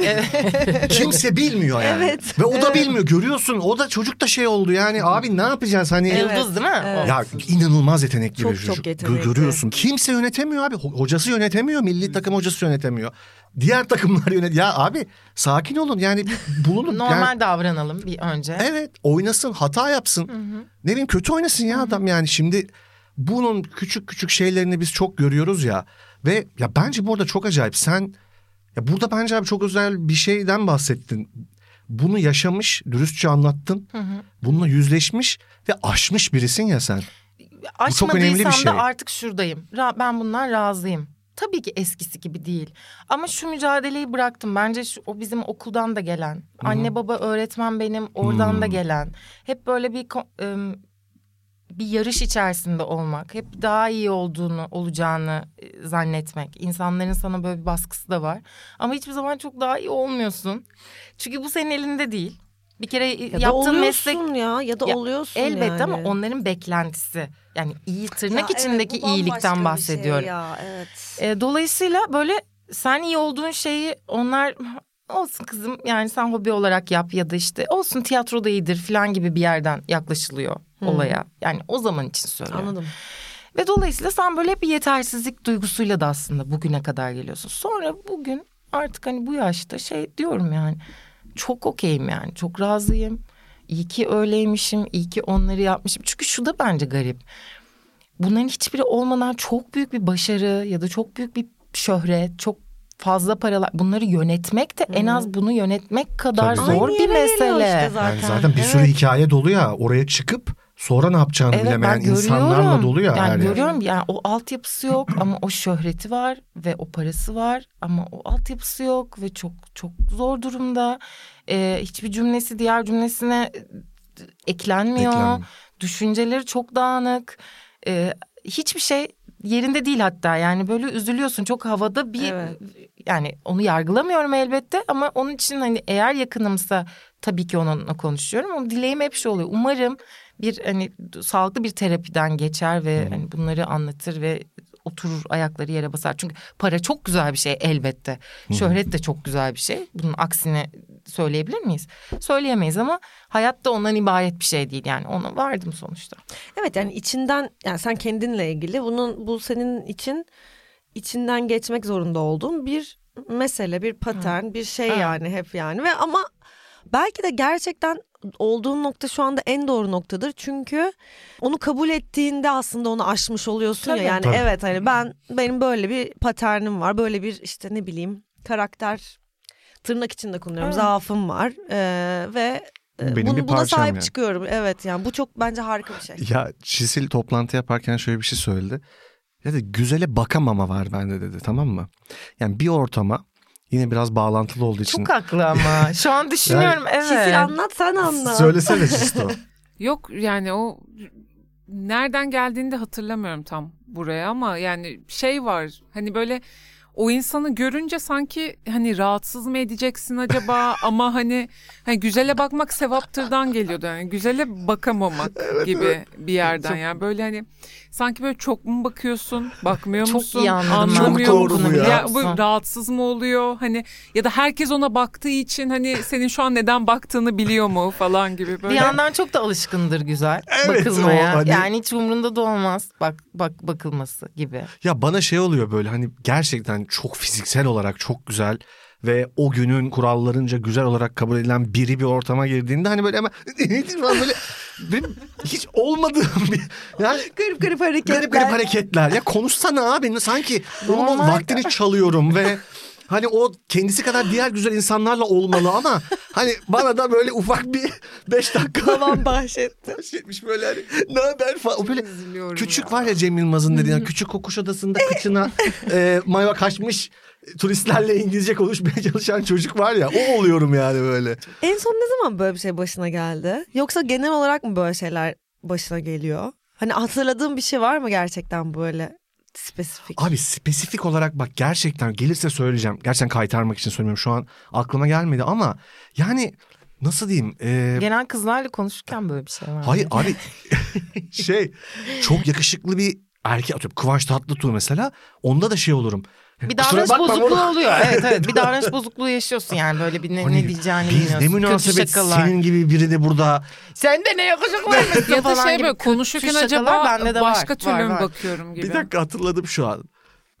Kimse bilmiyor yani. Evet. Ve o da bilmiyor. Görüyorsun o da çocuk da şey oldu yani abi ne yapacağız hani. Yıldız değil mi? Evet. Ya inanılmaz yetenekli Çok bir çocuk. çok Gö- yetenekli. Hmm. Görüyorsun. Kimse yönetemiyor abi. Ho- Hocası yönetemiyor. Milli takım hocası yönetemiyor. Diğer takımlar yönet. Ya abi sakin olun yani bir (laughs) bulunun. Normal Yani- davranalım bir önce. evet oynasın hata yapsın. Ne bileyim kötü oynasın ya adam yani. Şimdi bunun küçük küçük şeylerini biz çok görüyoruz ya. Ve ya bence burada çok acayip. Sen ya burada bence abi çok özel bir şeyden bahsettin. Bunu yaşamış, dürüstçe anlattın. Bununla yüzleşmiş ve aşmış birisin ya sen. çok önemli bir Aşmadıysam şey. da artık şuradayım. Ra- ben bundan razıyım. Tabii ki eskisi gibi değil. Ama şu mücadeleyi bıraktım. Bence şu, o bizim okuldan da gelen. Anne baba öğretmen benim oradan Hmm. da gelen. Hep böyle bir ko- ım, bir yarış içerisinde olmak, hep daha iyi olduğunu, olacağını e, zannetmek. İnsanların sana böyle bir baskısı da var. Ama hiçbir zaman çok daha iyi olmuyorsun. Çünkü bu senin elinde değil. Bir kere e, ya da yaptığın oluyorsun meslek ya ya da Ya, oluyorsun Elbette yani. ama onların beklentisi. Yani iyi Ya tırnak evet, içindeki bu bambaşka bir iyilikten şey bahsediyorum. ya, evet. E, dolayısıyla böyle sen iyi olduğun şeyi onlar olsun kızım yani sen hobi olarak yap ya da işte olsun tiyatro da iyidir falan gibi bir yerden yaklaşılıyor olaya. Yani o zaman için söylüyorum. Anladım. Ve dolayısıyla sen böyle hep bir yetersizlik duygusuyla da aslında bugüne kadar geliyorsun. Sonra bugün artık hani bu yaşta şey diyorum yani çok okeyim yani çok razıyım. İyi ki öyleymişim, iyi ki onları yapmışım. Çünkü şu da bence garip. Bunların hiçbiri olmadan çok büyük bir başarı ya da çok büyük bir şöhret, çok fazla paralar. Bunları yönetmek de en az bunu yönetmek kadar Tabii. zor Aynı bir yere geliyor mesele. işte zaten. Yani zaten bir sürü hikaye dolu ya oraya çıkıp sonra ne yapacağını bilemeyen insanlarla dolu ya Yani her yer. görüyorum yani o altyapısı (clears throat) yok ama o şöhreti var ve o parası var ama o altyapısı yok ve çok çok zor durumda. Ee, hiçbir cümlesi diğer cümlesine e, eklenmiyor. Eklenmiyor. Düşünceleri çok dağınık. Ee, hiçbir şey yerinde değil hatta yani böyle üzülüyorsun çok havada bir Evet. yani onu yargılamıyorum elbette ama onun için hani eğer yakınımsa tabii ki onunla konuşuyorum ama dileğim hep şu oluyor. Umarım bir hani sağlıklı bir terapiden geçer ve hani bunları anlatır ve oturur ayakları yere basar. Çünkü para çok güzel bir şey elbette. Şöhret de çok güzel bir şey. Bunun aksini söyleyebilir miyiz? Söyleyemeyiz ama hayat da ondan ibaret bir şey değil yani. Ona vardım sonuçta. Evet yani içinden yani sen kendinle ilgili bunun bu senin için içinden geçmek zorunda olduğun bir mesele, bir patern, bir şey Evet. yani hep yani ve ama belki de gerçekten olduğun nokta şu anda en doğru noktadır. Çünkü onu kabul ettiğinde aslında onu aşmış oluyorsun Tabii. Hmm. ya. Yani Tabii. evet hani ben benim böyle bir paternim var. Böyle bir işte ne bileyim karakter tırnak içinde kullanıyorum. Evet. Zaafım var. Ee, ve e, Benim bunu, bir buna parçam sahip yani. çıkıyorum. Evet yani bu çok bence harika (laughs) bir şey. Ya Çisil toplantı yaparken şöyle bir şey söyledi. Ya dedi güzele bakamama var bende dedi tamam mı? Yani bir ortama yine biraz bağlantılı olduğu için. Çok haklı ama. Şu (laughs) an düşünüyorum evet. Çisil anlat sen anlat. Söylesene Cisto. Yok yani o nereden geldiğini de hatırlamıyorum tam buraya ama yani şey var hani böyle o insanı görünce sanki hani rahatsız mı edeceksin acaba ama hani, hani güzele bakmak sevaptırdan geliyordu yani güzele bakamamak gibi bir yerden yani böyle hani sanki böyle çok mu bakıyorsun bakmıyor Çok musun iyi anladım ben bu anlamıyor korkuyu musun ya. ya bu rahatsız mı oluyor hani ya da herkes ona baktığı için hani senin şu an neden baktığını biliyor mu falan gibi Bir böyle. yandan çok da alışkındır güzel Evet, bakılmaya. o hani- Yani hiç umrunda da olmaz bak bak bakılması gibi. Ya bana şey oluyor böyle hani gerçekten çok fiziksel olarak çok güzel ve o günün kurallarınca güzel olarak kabul edilen biri bir ortama girdiğinde hani böyle (laughs) hemen falan böyle benim hiç olmadığım bir yani Garip garip hareketler. garip garip hareketler. Ya konuşsana abi sanki onun o Normal. vaktini çalıyorum ve hani o kendisi kadar diğer güzel insanlarla olmalı ama hani bana da böyle ufak bir beş (laughs) dakika Tamam bahsettim. bahsetmiş böyle hani ne haber falan. O böyle Küçük var ya Cem Yılmaz'ın dediği. yani Küçük kokuş odasında kıçına e, mayo kaçmış turistlerle İngilizce konuşmaya çalışan çocuk var ya. O oluyorum yani böyle. (laughs) En son ne zaman böyle bir şey başına geldi? Yoksa genel olarak mı böyle şeyler başına geliyor? Hani hatırladığın bir şey var mı gerçekten böyle spesifik? Abi spesifik olarak bak gerçekten gelirse söyleyeceğim. Gerçekten kaytarmak için söylemiyorum. Şu an aklıma gelmedi ama yani nasıl diyeyim? E, Genel kızlarla konuşurken böyle bir şey var. hayır abi (laughs) şey çok yakışıklı bir erkek atıyorum. Kıvanç Tatlıtuğ mesela. Onda da şey olurum. Bir Kusura davranış bakma bozukluğu oğlum. oluyor. Evet (laughs) evet bir davranış bozukluğu yaşıyorsun yani böyle bir ne, Hani ne diyeceğini Biz bilmiyorsun. ne münasebet Kötü şakalar. senin gibi birini burada Sen de ne (laughs) yakışık var mısın ya da falan şey gibi böyle kötü konuşurken şakalar acaba bende de var, başka türlü var, mü var. bakıyorum gibi. Bir dakika hatırladım şu an.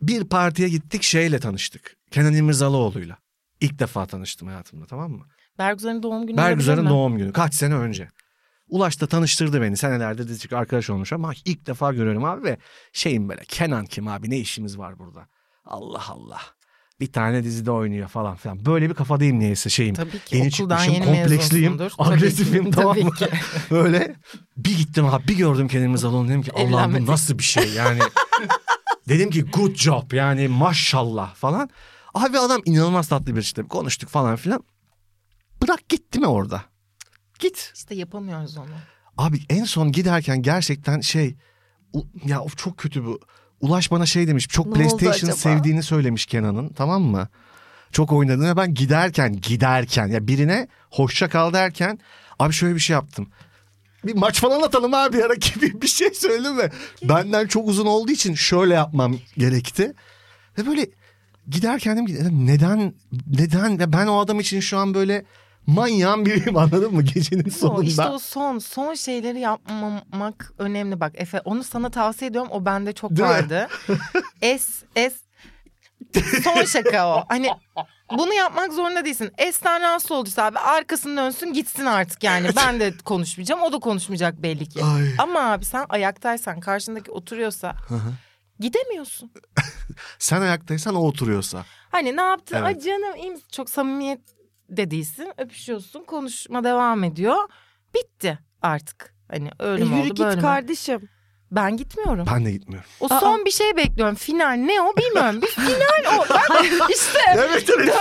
Bir partiye gittik şeyle tanıştık. Kenan İmirzalıoğlu'yla. İlk defa tanıştım hayatımda tamam mı? Bergüzar'ın doğum günü Bergüzar'ın olabilir mi? doğum günü. Kaç sene önce. Ulaş da tanıştırdı beni. Senelerde dizicik arkadaş olmuş ama ilk defa görüyorum abi ve şeyim böyle Kenan kim abi ne işimiz var burada? Allah Allah. Bir tane dizide oynuyor falan filan. Böyle bir kafadayım neyse şeyim. Tabii ki Yeni okuldan çıkmışım, yeni kompleksliyim, mezunsundur. Tabii ki, agresifim tamam tabii mı? ki. (laughs) Böyle bir gittim abi bir gördüm kendimi salon dedim ki Allah'ım bu Evlenmedik. nasıl bir şey yani. dedim ki good job yani maşallah falan. Abi adam inanılmaz tatlı bir işte konuştuk falan filan. Bırak gitti mi orada? Git. İşte yapamıyoruz onu. Abi en son giderken gerçekten şey u- ya of çok kötü bu. Ulaş bana şey demiş çok Ne oldu PlayStation acaba? sevdiğini söylemiş Kenan'ın tamam mı? Çok oynadığını ben giderken giderken ya birine hoşça kal derken abi şöyle bir şey yaptım. Bir maç falan atalım abi ara (laughs) gibi bir şey söyledim mi? Benden çok uzun olduğu için şöyle yapmam gerekti. Ve böyle giderken dedim ki neden neden ve ben o adam için şu an böyle manyağın biriyim (laughs) anladın mı gecenin O sonunda. işte o son son şeyleri yapmamak önemli bak Efe onu sana tavsiye ediyorum o bende çok Değil mi? vardı. (laughs) es es son şaka o. Hani bunu yapmak zorunda değilsin. Es'ten rahatsız olduysa abi arkasını dönsün gitsin artık yani. Ben de konuşmayacağım o da konuşmayacak belli ki. Ay. Ama abi sen ayaktaysan karşındaki oturuyorsa gidemiyorsun. Sen ayaktaysan o oturuyorsa. Hani ne yaptın? Evet. Ay canım iyi misin? Çok samimiyet de değilsin. Öpüşüyorsun. Konuşma devam ediyor. Bitti artık. Hani E, öyle mi yürü oldu git böyle mi? kardeşim. Ben gitmiyorum. Ben de gitmiyorum. O Aa. son bir şey bekliyorum. Final ne o bilmiyorum. Bir final o. Ben işte Evet evet döndü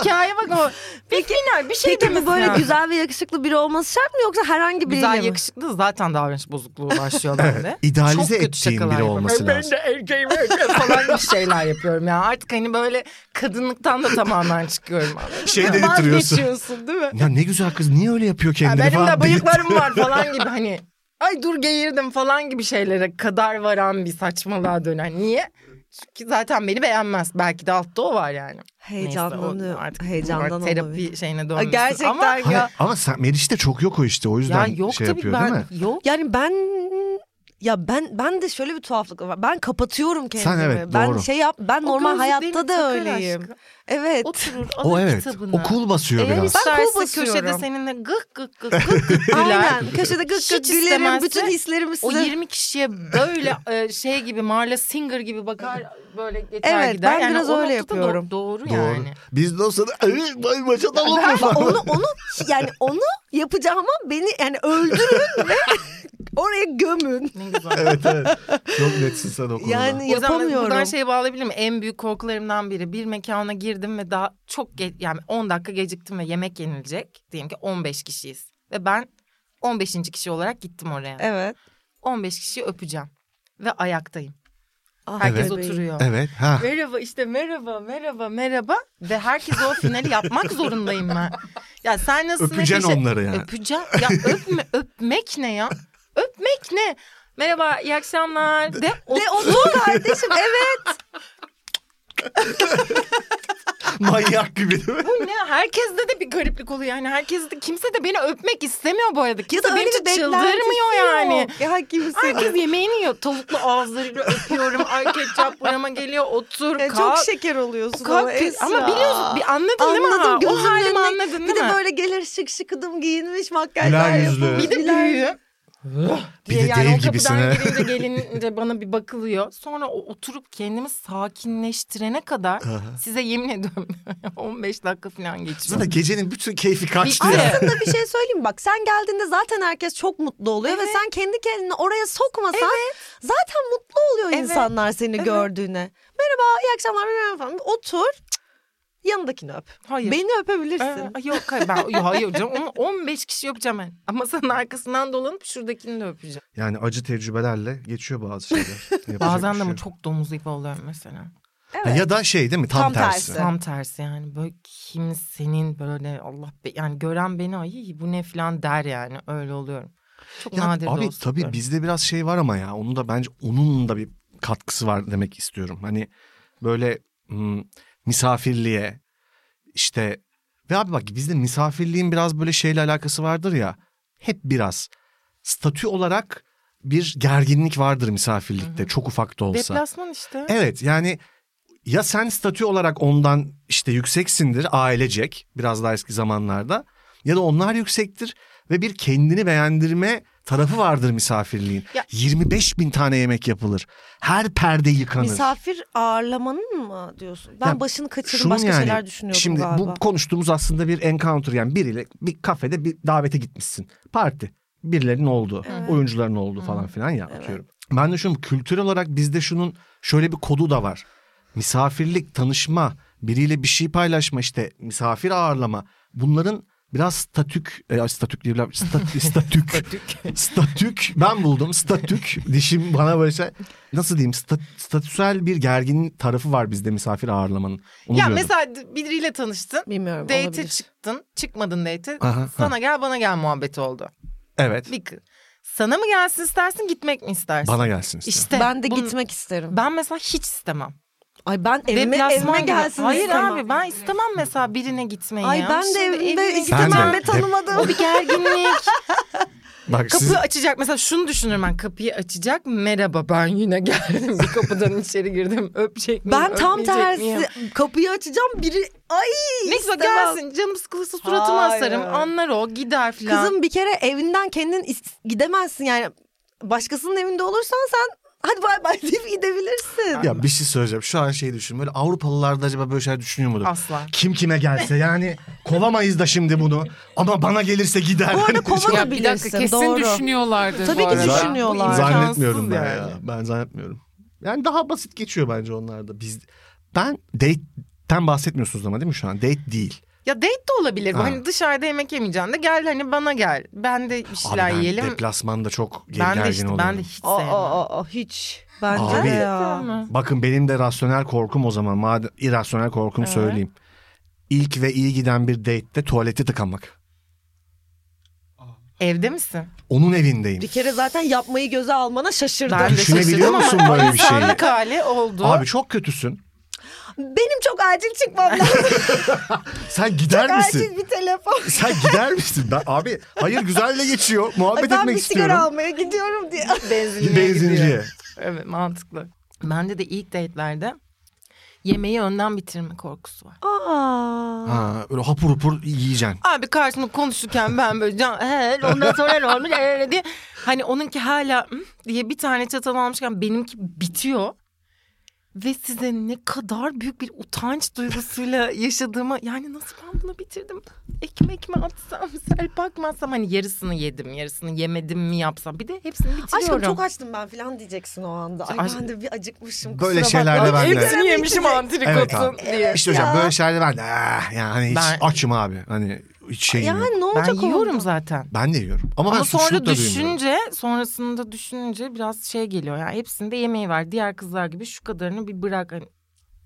hikaye bak o. Bir final bir şey Peki bu demesi böyle lazım. güzel ve yakışıklı biri olması şart mı yoksa herhangi biriyle Güzel mi? yakışıklı zaten davranış bozukluğu başlıyor bende. Çok İdealize kötü ettiğim şakalar E, biri yapıyorum. olması Ben lazım. de erkeğim erkeğim falan bir şeyler yapıyorum ya. Artık hani böyle kadınlıktan da tamamen çıkıyorum. Şey dedirtiyorsun. Vazgeçiyorsun değil mi? Ya ne güzel kız niye öyle yapıyor Ya kendini benim de falan diye. bıyıklarım (laughs) var falan gibi hani. Ay dur geğirdim falan gibi şeylere kadar varan bir saçmalığa dönen. Niye? Çünkü zaten beni beğenmez. Belki de altta o var yani. Heyecanlanıyor. bu Heyecandan var, terapi olabilir. şeyine Ay, dönmüşsün. Gerçekten Ama Hayır, ya. Ama sen, Meriç'te çok yok o işte o ya yüzden yok şey tabii yapıyor ben değil mi? yok. Yani ben ya ben ben de şöyle bir tuhaflık var. Ben kapatıyorum kendimi. evet, ben doğru. şey yap ben O normal gözlüklerini hayatta da takar öyleyim. aşkım. Evet. Oturur alır O evet. kitabını. O kul basıyor Eğer biraz. Ben kul isterse basıyorum. köşede seninle gık gık (laughs) gık gık gık güler. Aynen. Köşede gık gık Hiç gülerim. istemezse Bütün hislerimi O size 20 (laughs) kişiye böyle e, şey gibi Marla Singer gibi bakar böyle geçer Evet, gider. ben biraz o öyle noktada yapıyorum. Do- doğru, Doğru. yani. Biz de o sırada "Ay, vay maça da olur mu?" Ben falan. onu onu yani onu yapacağıma beni yani (laughs) öldürün ve oraya gömün. Ne güzel. (laughs) evet evet. Çok netsin sen o konuda. Yani O zaman yapamıyorum. buradan şey bağlayabilir miyim? En büyük korkularımdan biri bir mekana girdim ve daha çok ge- yani 10 dakika geciktim ve yemek yenilecek. Diyelim ki 15 kişiyiz ve ben 15. kişi olarak gittim oraya. Evet. 15 kişiyi öpeceğim ve ayaktayım. Ah, Herkes bebeğim. oturuyor. Evet. Ha. Merhaba işte merhaba merhaba merhaba ve herkes o finali yapmak zorundayım ben. Ya sen nasıl Öpeceksin nefes- onları yani. Öpeceğim. Ya öpme öpmek ne ya? Öpmek ne? Merhaba iyi akşamlar. De, o- De otur kardeşim (laughs) evet. Manyak gibi değil mi? bu ne? Herkeste de bir gariplik oluyor yani. Herkes de kimse de beni öpmek istemiyor bu arada. Ya Kimse da öyle beni bir de çıldırmıyor yani. Ya kimse. Herkes yemeğini yiyor. Tavuklu ağızlarıyla öpüyorum. Ay ketçap burama geliyor. Otur Ya kalk. çok şeker oluyorsun kalk. ama Esra. Ama biliyorsun bir anladın değil mi? Anladım, ha? O gözümün halimi önüne- anladın değil bir de mi? böyle gelir şık şıkıdım giyinmiş makyajlar Güler yüzlü. yapılmış. Bir de güler- büyüğü. Bir diye de yani dev o kapıdan gibisine. girince (laughs) gelince bana bir bakılıyor. Sonra o- oturup kendimi sakinleştirene kadar Aha. size yemin ediyorum (laughs) 15 dakika falan geçiyor. Zaten gecenin bütün keyfi kaçtı Bir- ya. Aslında bir şey söyleyeyim mi? bak sen geldiğinde zaten herkes çok mutlu oluyor ve Evet. sen kendi kendini oraya sokmasan zaten mutlu oluyor Evet. insanlar seni Evet. gördüğüne. Merhaba iyi akşamlar merhaba falan otur cık, yanındakini öp. Hayır. Beni öpebilirsin. Ee, yok hayır ben yok, hayır canım Onu 15 kişi yapacağım ben. Ama sen arkasından dolanıp şuradakini de öpeceğim. Yani acı tecrübelerle geçiyor bazı (laughs) şeyler. Yapacak Bazen bir de şey ama yok. çok domuz ipi oluyorum mesela. Ha, Ya da şey değil mi? Tam, Tam tersi. tersi. Tam tersi yani böyle kimsenin böyle Allah be- yani gören beni ay bu ne falan der yani öyle oluyorum. Çok Ya nadir de abi olsa tabii diyorum. bizde biraz şey var ama ya onun da bence onun da bir katkısı var demek istiyorum. Hani böyle hmm, misafirliğe işte ve abi bak bizde misafirliğin biraz böyle şeyle alakası vardır ya. Hep biraz statü olarak bir gerginlik vardır misafirlikte çok ufak da olsa. Deplasman işte. Evet yani ya sen statü olarak ondan işte yükseksindir ailecek biraz daha eski zamanlarda ya da onlar yüksektir ve bir kendini beğendirme tarafı vardır misafirliğin. Ya- 25 bin tane yemek yapılır. Her perde yıkanır. Misafir ağırlamanın mı diyorsun? Ben Ya başını kaçırdım Şunun başka yani, şeyler düşünüyordum Şimdi galiba. bu konuştuğumuz aslında bir encounter yani biriyle bir kafede bir davete gitmişsin. Parti. Birilerinin olduğu, oyuncuların olduğu falan filan ya atıyorum. Ben de şunu kültürel olarak bizde şunun şöyle bir kodu da var. Misafirlik, tanışma, biriyle bir şey paylaşma işte misafir ağırlama. Bunların biraz statük, e, statük (laughs) diyebilirim. Stat, statük. statük. Ben (laughs) buldum. Statük. Dişim bana böyle şey. Nasıl diyeyim? Stat, statüsel bir gergin tarafı var bizde misafir ağırlamanın. Onu Ya diyordum. mesela biriyle tanıştın. Bilmiyorum Date'e olabilir. çıktın. Çıkmadın date'e. Aha, Sana gel bana gel muhabbeti oldu. Evet. Bir kı- Sana mı gelsin istersin gitmek mi istersin? Bana gelsin işte. İşte ben de bunu- gitmek isterim. Ben mesela hiç istemem. Ay ben evime, Deplasman evime gibi. gelsin Hayır istemem. abi ben istemem mesela birine gitmeyi. Ay ya. ben de Şimdi evimde evine istemem de. ve tanımadım. O bir gerginlik. Bak (laughs) siz Kapıyı açacak mesela şunu düşünürüm ben kapıyı açacak merhaba ben yine geldim bir kapıdan içeri girdim öpecek miyim Ben tam öpmeyecek tersi miyim? kapıyı açacağım biri ay Neyse istemem. gelsin canım sıkılırsa suratıma Hayır. asarım anlar o gider filan. Kızım bir kere evinden kendin is- gidemezsin yani başkasının evinde olursan sen hadi bay bay deyip gidebilirsin. ya bir şey söyleyeceğim. Şu an şey düşün. Böyle Avrupalılar da acaba böyle şeyler düşünüyor mudur? Asla. Kim kime gelse yani kovamayız da şimdi bunu. ama bana gelirse gider. Bu arada kova da Ya bir dakika bilirsin kesin doğru. düşünüyorlardır Tabii ki bu arada. düşünüyorlar. Bu imkansız Zannetmiyorum ben yani. ya. Ben zannetmiyorum. Yani daha basit geçiyor bence onlarda. Biz ben date'ten bahsetmiyorsunuz ama değil mi şu an? Date değil. Ya date de olabilir bu. Ha. Hani dışarıda yemek yemeyeceğin de gel hani bana gel. Ben de bir Abi şeyler ben yiyelim. deplasmanda çok ger- ben de gergin işte oluyorum. ben de hiç Aa, sevmem. aa, aa, hiç bence Abi. de ya. Sevmem. Bakın benim de rasyonel korkum o zaman. Madem irrasyonel korkum Evet. söyleyeyim. İlk ve iyi giden bir date'te tuvaleti tıkamak. Evde misin? Onun evindeyim. Bir kere zaten yapmayı göze almana şaşırdım. Ben de Düşünebiliyor şaşırdım musun ama böyle bir şeyi? insanlık hali oldu. Abi çok kötüsün. Benim çok acil çıkmam lazım. Sen gider acil misin? bir telefon. Sen gider misin? Ben, abi hayır güzelle geçiyor. Ay, ben Muhabbet bir etmek sigara istiyorum. almaya gidiyorum (laughs) diye. Benzinliğe gidiyor. Benzinciye. Evet mantıklı. Bende de ilk date'lerde yemeği önden bitirme korkusu var. Aa. Ha, öyle hapur hapur yiyeceksin. Abi karşımda konuşurken ben böyle can he, ondan sonra ne olmuş he, he diye. Hani onunki hala "Hı?" diye bir tane çatal almışken benimki bitiyor. Ve size ne kadar büyük bir utanç duygusuyla yaşadığımı yani nasıl ben bunu bitirdim? Ekmek mi atsam, serpak mı atsam hani yarısını yedim, yarısını yemedim mi yapsam? Bir de hepsini bitiriyorum. Aşkım çok açtım ben falan diyeceksin o anda. Ay, Aşk- ben de bir acıkmışım. Böyle kusura şeyler bakma. de ben de. Hepsini Hepsini yemişim yemişim antrikotun Evet abi. diye. İşte hocam Ya. böyle şeylerde ben de "Ah," yani hani hiç Ben- açım abi. Hani şeyim yok. yani ne olacak Ben oldu? yiyorum zaten. Ben de yiyorum. Ama, ben Ama sonra suçluluk da duymuyorum. düşünce sonrasında düşününce biraz şey geliyor yani hepsinde yemeği var. Diğer kızlar gibi şu kadarını bir bırak hani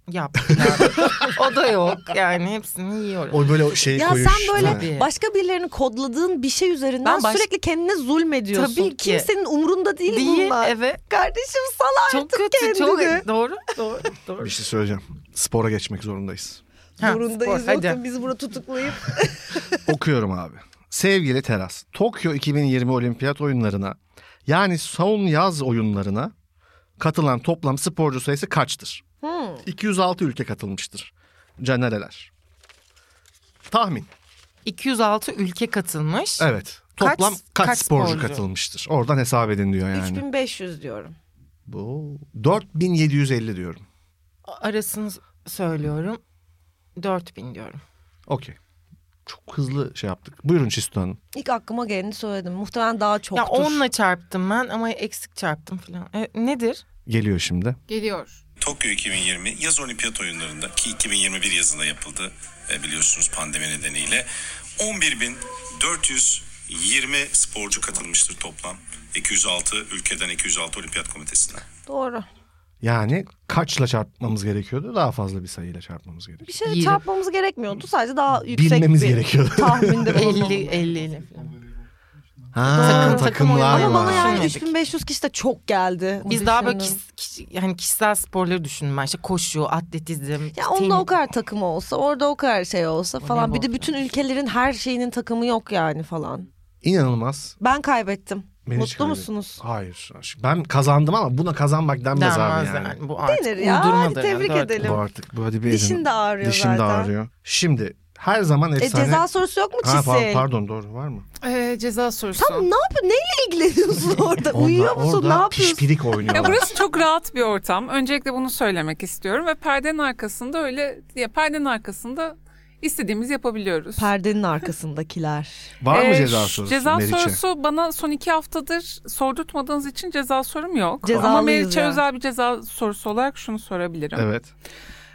(laughs) yap. Yani. o da yok yani hepsini yiyorum. O böyle o şeyi Ya koyuş. sen böyle Tabii. başka birilerini kodladığın bir şey üzerinden Ben baş- sürekli kendine zulmediyorsun. Tabii ki. Kimsenin umurunda değil, Değil bunlar. evet. Kardeşim sal Çok artık kötü çok kendini. doğru doğru doğru. Bir şey söyleyeceğim. Spora geçmek zorundayız. Ha, Zorundayız. spor, hadi. Yoksa bizi burada tutuklayıp. Okuyorum abi. Sevgili Teras, Tokyo 2020 Olimpiyat oyunlarına yani son yaz oyunlarına katılan toplam sporcu sayısı kaçtır? Hmm. 206 ülke katılmıştır. Canereler. Tahmin. 206 ülke katılmış. Evet. Kaç- Toplam kaç, kaç sporcu, sporcu? katılmıştır? Oradan hesap edin diyor yani. 3500 diyorum. Bu 4750 diyorum. Arasını söylüyorum. 4000 diyorum. Okey. Çok hızlı şey yaptık. Buyurun Çisto Hanım. İlk aklıma geleni söyledim. Muhtemelen daha çoktur. Ya onla çarptım ben ama eksik çarptım falan. E, nedir? Geliyor şimdi. Geliyor. Tokyo 2020 yaz olimpiyat oyunlarında ki 2021 yazında yapıldı e, biliyorsunuz pandemi nedeniyle 11.420 sporcu katılmıştır toplam 206 ülkeden 206 olimpiyat komitesinden. Doğru. Yani kaçla çarpmamız gerekiyordu? Daha fazla bir sayıyla çarpmamız Bir gerekiyordu. şey Yirmi. çarpmamız gerekmiyordu. Sadece daha yüksek Bilmemiz bir gerekiyordu. (laughs) tahminde 50 bulunmamız. 50 ile falan. Ha, Takım- takım takımlar oyunu. Ama bana var. yani Düşünmedik. 3500 kişi de çok geldi. Biz daha böyle Düşünün. kişi, kişi- yani kişisel sporları düşündüm ben. İşte koşu, atletizm. Ya onda tenis. o kadar takım olsa, orada o kadar şey olsa falan. Bir de olsa. bütün ülkelerin her şeyinin takımı yok yani falan. İnanılmaz. Ben kaybettim. Beni Mutlu çıkarıyor. musunuz? Hayır. aşk- Ben kazandım ama buna kazanmak denmez Denmez abi yani. yani. Bu artık Denir ya. uydurmadır Hadi tebrik Doğru. edelim. Bu artık böyle bir Dişin edin- de ağrıyor Dişim de zaten. ağrıyor. Şimdi her zaman E efsane... ceza sorusu yok mu Ha, Çisil? pa- pardon doğru var mı? Ee, ceza sorusu. Tam ne yapıyorsun? Neyle (laughs) ilgileniyorsun orada? Onlar E, Uyuyor musun? orada Ne yapıyorsun? (laughs) pişpirik Ya oynuyorlar. burası çok rahat bir ortam. Öncelikle bunu söylemek istiyorum ve perdenin arkasında öyle ya perdenin arkasında istediğimiz yapabiliyoruz. Perdenin arkasındakiler. var mı Ee, ceza şu- sorusu? Ceza Meriç'e? sorusu bana son iki haftadır sordurtmadığınız için ceza sorum yok. Ama Cezalıyız Meriç'e ya. özel bir ceza sorusu olarak şunu sorabilirim. Evet.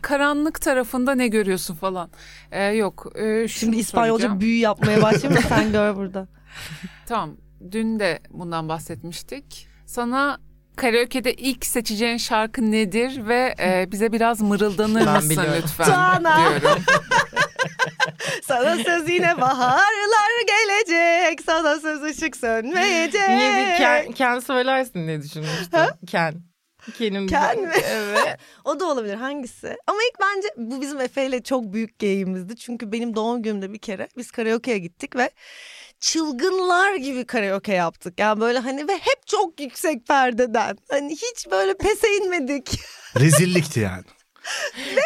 Karanlık tarafında ne görüyorsun falan. Ee, yok. e, şunu Şimdi İspanyolca soracağım. büyü yapmaya başlayayım mı? Sen gör burada. Tamam. Dün de bundan bahsetmiştik. Sana karaoke'de ilk seçeceğin şarkı nedir ve e, bize biraz mırıldanır Ben mısın biliyorum. lütfen Tuana. diyorum. (laughs) Sana söz yine baharlar gelecek. Sana söz ışık sönmeyecek. Niye bir Ken, Ken söylersin diye düşünmüştüm. Ken. Ken'im. Ken mi? Evet. O da olabilir hangisi? Ama ilk bence bu bizim Efe ile çok büyük geyiğimizdi. Çünkü benim doğum günümde bir kere biz karaoke'ye gittik ve çılgınlar gibi karaoke yaptık. Yani böyle hani ve hep çok yüksek perdeden. Hani hiç böyle pese (laughs) inmedik. (laughs) Rezillikti yani.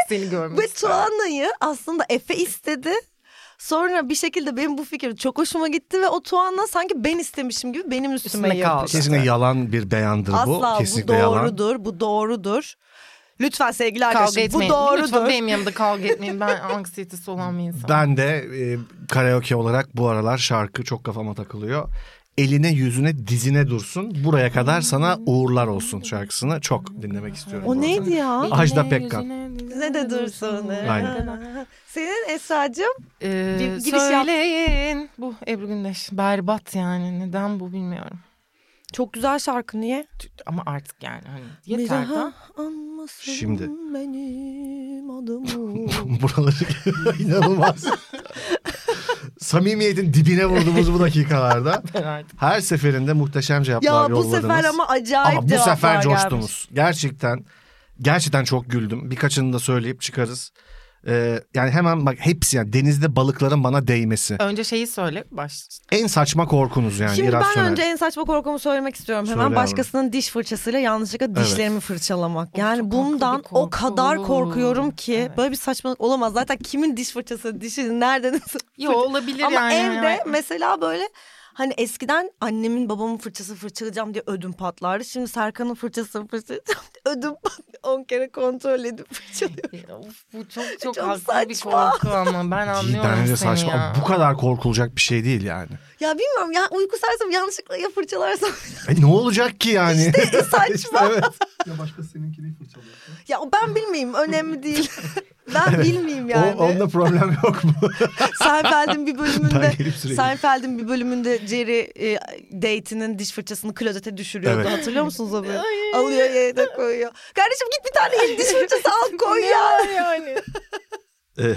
Seni Ve görmek isterdim. Tuana'yı aslında Efe istedi. Sonra bir şekilde benim bu fikir çok hoşuma gitti ve o Tuana sanki ben istemişim gibi benim üstüme, Üstüne kaldı. yapıştı. Kesinlikle yalan bir beyandır bu. Asla bu, Kesinlikle yalan. doğrudur, bu doğrudur. Lütfen sevgili Kavga arkadaşım bu etmeyin. Lütfen doğrudur. benim yanımda kavga etmeyin. Ben (laughs) anksiyetesi olan bir insanım. Ben de e, karaoke olarak bu aralar şarkı çok kafama takılıyor. Eline yüzüne dizine dursun. Buraya kadar sana uğurlar olsun şarkısını çok dinlemek istiyorum. bu O arada. neydi ya? Ajda Pekkan. Ne de dursun. Aynen. Senin Esra'cığım Ee, Bir giriş yap. söyleyin. Bu Ebru Gündeş. Berbat yani. Neden bu bilmiyorum. çok güzel şarkı niye? Ama artık yani hani yeter daha da. anmasın Şimdi. benim (laughs) adımı. Buraları inanılmaz. Samimiyetin dibine vurduğumuz bu dakikalarda. Ben artık. Her seferinde muhteşem cevaplar ya bu yolladınız. sefer ama acayip Ama bu cevaplar sefer gelmiş. coştunuz. Gerçekten gerçekten çok güldüm. Birkaçını da söyleyip çıkarız. Ee, yani hemen bak hepsi yani denizde balıkların bana değmesi. Önce şeyi söyle. Baş. En saçma korkunuz yani Şimdi ben irasyonel. önce en saçma korkumu söylemek istiyorum. Söyle Hemen abi. başkasının diş fırçasıyla yanlışlıkla dişlerimi fırçalamak. Yani çok bundan haklı bir o korku. kadar korkuyorum ki Evet. böyle bir saçmalık olamaz. Zaten kimin diş fırçası, dişi nereden Yo olabilir Ama yani. evde mesela böyle hani eskiden annemin babamın fırçası fırçalayacağım diye ödüm patlardı. Şimdi Serkan'ın fırçası fırçalayacağım diye ödüm patlıyor. 10 kere kontrol edip fırçalıyorum. Of, bu (laughs) çok çok, Çok haklı bir saçma. korku (laughs) ama ben anlıyorum Cidden seni de saçma. ya. Bu kadar korkulacak bir şey değil yani. Ya bilmiyorum ya uyku sersem yanlışlıkla ya fırçalarsam. (laughs) E ne olacak ki yani? (laughs) İşte saçma. evet. Ya başka seninkini fırçalıyor. (laughs) ya ben bilmeyeyim önemli değil. Ben bilmeyeyim (laughs) yani. O, onda problem yok mu? Seinfeld'in bir bölümünde Ben gelip sürekli- Seinfeld'in bir bölümünde Jerry e, date'inin diş fırçasını klozete düşürüyordu. Evet. Hatırlıyor musunuz o bölümü? Alıyor yerine koyuyor. Kardeşim git bir tane yeni diş fırçası al koy ya. yani. Ee,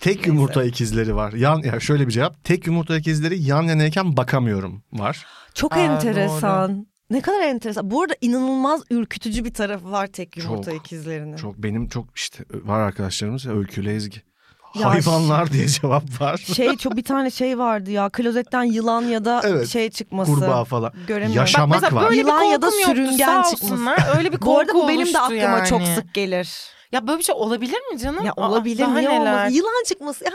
tek yumurta ikizleri var. Yan, ya şöyle bir cevap. Tek yumurta ikizleri yan yanayken bakamıyorum var. Çok Aa, enteresan. Ne kadar enteresan. Bu arada inanılmaz ürkütücü bir tarafı var tek yumurta Çok, ikizlerinin. Çok benim çok işte var arkadaşlarımız öykülü ezgi. Ya Hayvanlar diye cevap var. Şey çok bir tane şey vardı ya klozetten yılan ya da Evet, şey çıkması. Kurbağa falan. Göremiyorum. Bak Yaşamak mesela var. böyle Yılan bir ya da korkum yoktu, sürüngen sağ çıkması. olsunlar. Öyle bir (laughs) korku Bu arada bu benim de oluştu aklıma yani. çok sık gelir. Ya böyle bir şey olabilir mi canım? Ya Aa, olabilir daha niye neler? olmaz? Yılan çıkması. Yani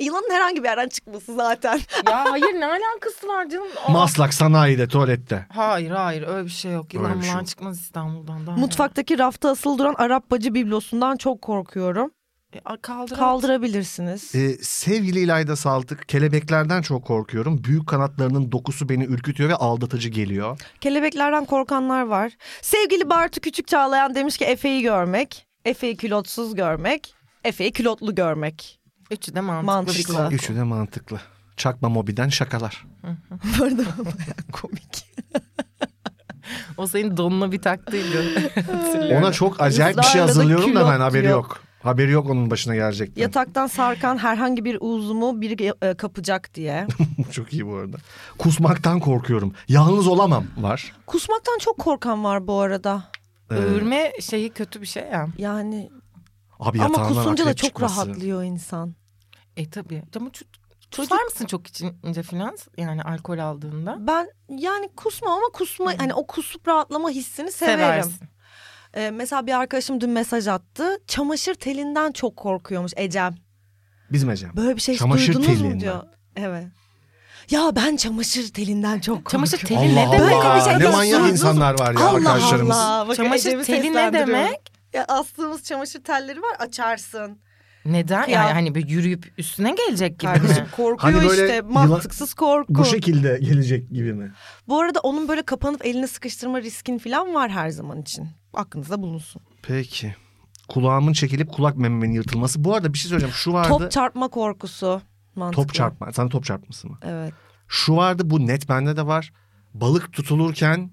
yılanın herhangi bir yerden çıkması zaten. ya hayır ne alakası var (laughs) canım? Aa. Maslak sanayide tuvalette. Hayır hayır öyle bir şey yok. Öyle Yılan bir şey falan yok. çıkmaz İstanbul'dan. Daha Mutfaktaki rafta asılı duran Arap bacı biblosundan çok korkuyorum. neler? E, kaldır. Kaldırabilirsiniz. Ee, sevgili İlayda Saltık, kelebeklerden çok korkuyorum. Büyük kanatlarının dokusu beni ürkütüyor ve aldatıcı geliyor. Kelebeklerden korkanlar var. Sevgili Bartu Küçük Çağlayan demiş ki Efe'yi görmek, Efe'yi külotsuz görmek, Efe'yi külotlu (laughs) görmek. Üçü de mantıklı, Mantıklı. bir korku. Üçü de mantıklı. Çakma mobiden şakalar. Bu arada bayağı komik. (laughs) O senin donuna (laughs) bir taktıydı. Ona çok acayip bir şey Islarla da hazırlıyorum da külot ben haberi diyor. yok. Haberi yok onun başına gelecekten. Yataktan sarkan herhangi bir uzumu biri e, kapacak (laughs) diye. çok iyi bu arada. Kusmaktan korkuyorum. Yalnız olamam var. Kusmaktan çok korkan var bu arada. Ee, Öğürme şeyi kötü bir şey ya. Yani Abi ama yatağından kusunca da akrep çok çıkması. rahatlıyor insan. E tabii. Ama çocuk... Tutar mısın çok içince filan? Yani alkol aldığında. Ben yani kusmam ama Hmm. kusma hani o kusup rahatlama hissini severim. Seversin. Ee, mesela bir arkadaşım dün mesaj attı. Çamaşır telinden çok korkuyormuş Ecem. Bizim Ecem. Böyle bir şey hiç Çamaşır duydunuz telinden. mu diyor. Evet. Ya ben çamaşır telinden çok korkuyorum. Çamaşır teli Allah ne demek? Böyle bir Allah. şey Ne yok. manyak Duydunuz mu? insanlar var ya Allah arkadaşlarımız. Allah. Bakın Çamaşır Ecem'i teli ne seslendiriyorum. demek? Ya astığımız çamaşır telleri var açarsın. Hani Neden? Ya. Yani hani böyle yürüyüp üstüne gelecek gibi Kardeşim mi? korkuyor Hani böyle işte. yılan- Mantıksız korku. Bu şekilde gelecek gibi mi? Bu arada onun böyle kapanıp eline sıkıştırma riskin falan var her zaman için. Aklınızda bulunsun. Peki. Kulağımın çekilip kulak mememin yırtılması. Bu arada bir şey söyleyeceğim. Şu vardı. Top çarpma korkusu. Mantıklı. Top çarpma. Sana top çarpması mı? Evet. Şu vardı bu net bende de var. Balık tutulurken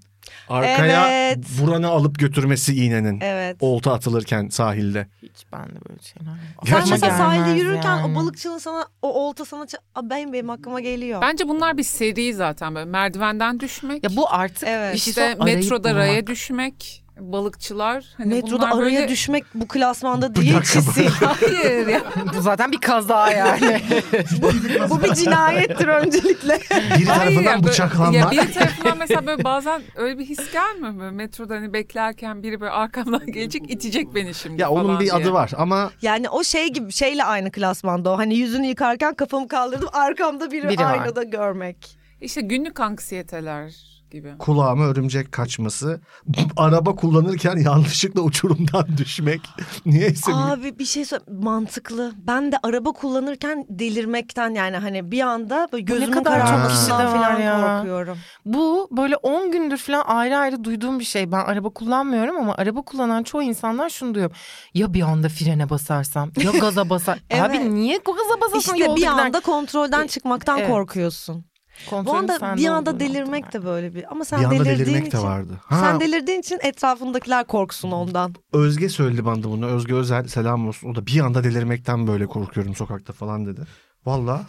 arkaya Evet. buranı alıp götürmesi iğnenin. Evet. Olta atılırken sahilde. Hiç ben de böyle şeyler. yok. Sen Sen Gerçekten. mesela sahilde Gelmez yürürken yani. o balıkçının sana o olta sana ça- Aa, benim benim aklıma geliyor. Bence bunlar bir seri zaten böyle merdivenden düşmek. Ya bu artık Evet. bir işte şey metroda arayıp raya bulmak. düşmek, balıkçılar. Hani Metroda bunlar araya böyle- düşmek bu klasmanda değil dakika, kesin. (laughs) Hayır ya. Bu zaten (laughs) bir kaza yani. bu bir cinayettir (laughs) öncelikle. Biri Hayır ya, tarafından böyle- Ya bıçaklanmak. bir tarafından mesela böyle bazen öyle bir his gelmiyor mu? Metroda hani beklerken biri böyle arkamdan (laughs) gelecek itecek beni şimdi Ya onun falan bir diye. adı var ama Yani o şey gibi şeyle aynı klasmanda o. Hani yüzünü yıkarken kafamı kaldırdım arkamda biri, Biri var. aynada görmek. İşte günlük anksiyeteler gibi. kulağıma örümcek kaçması, araba kullanırken yanlışlıkla uçurumdan (laughs) düşmek. Niyeyse Abi bir şey söyle mantıklı. Ben de araba kullanırken delirmekten yani hani bir anda böyle gözümün kadar çok kararmasından kişide var falan ya. korkuyorum. Bu böyle 10 gündür falan ayrı ayrı duyduğum bir şey. Ben araba kullanmıyorum ama araba kullanan çoğu insandan şunu duyuyorum. Ya bir anda frene basarsam ya gaza basar. (laughs) Evet. Abi niye gaza basasın İşte yolda bir giderken? anda kontrolden çıkmaktan Evet. korkuyorsun. Bu Kontrolün anda sende bir anda olduğunu delirmek anladım de böyle bir ama sen bir anda delirdiğin delirmek için de vardı. sen delirdiğin için etrafındakiler korksun ondan. Özge söyledi bana da bunu. Özge Özel selam olsun. O da bir anda delirmekten böyle korkuyorum sokakta falan dedi. Valla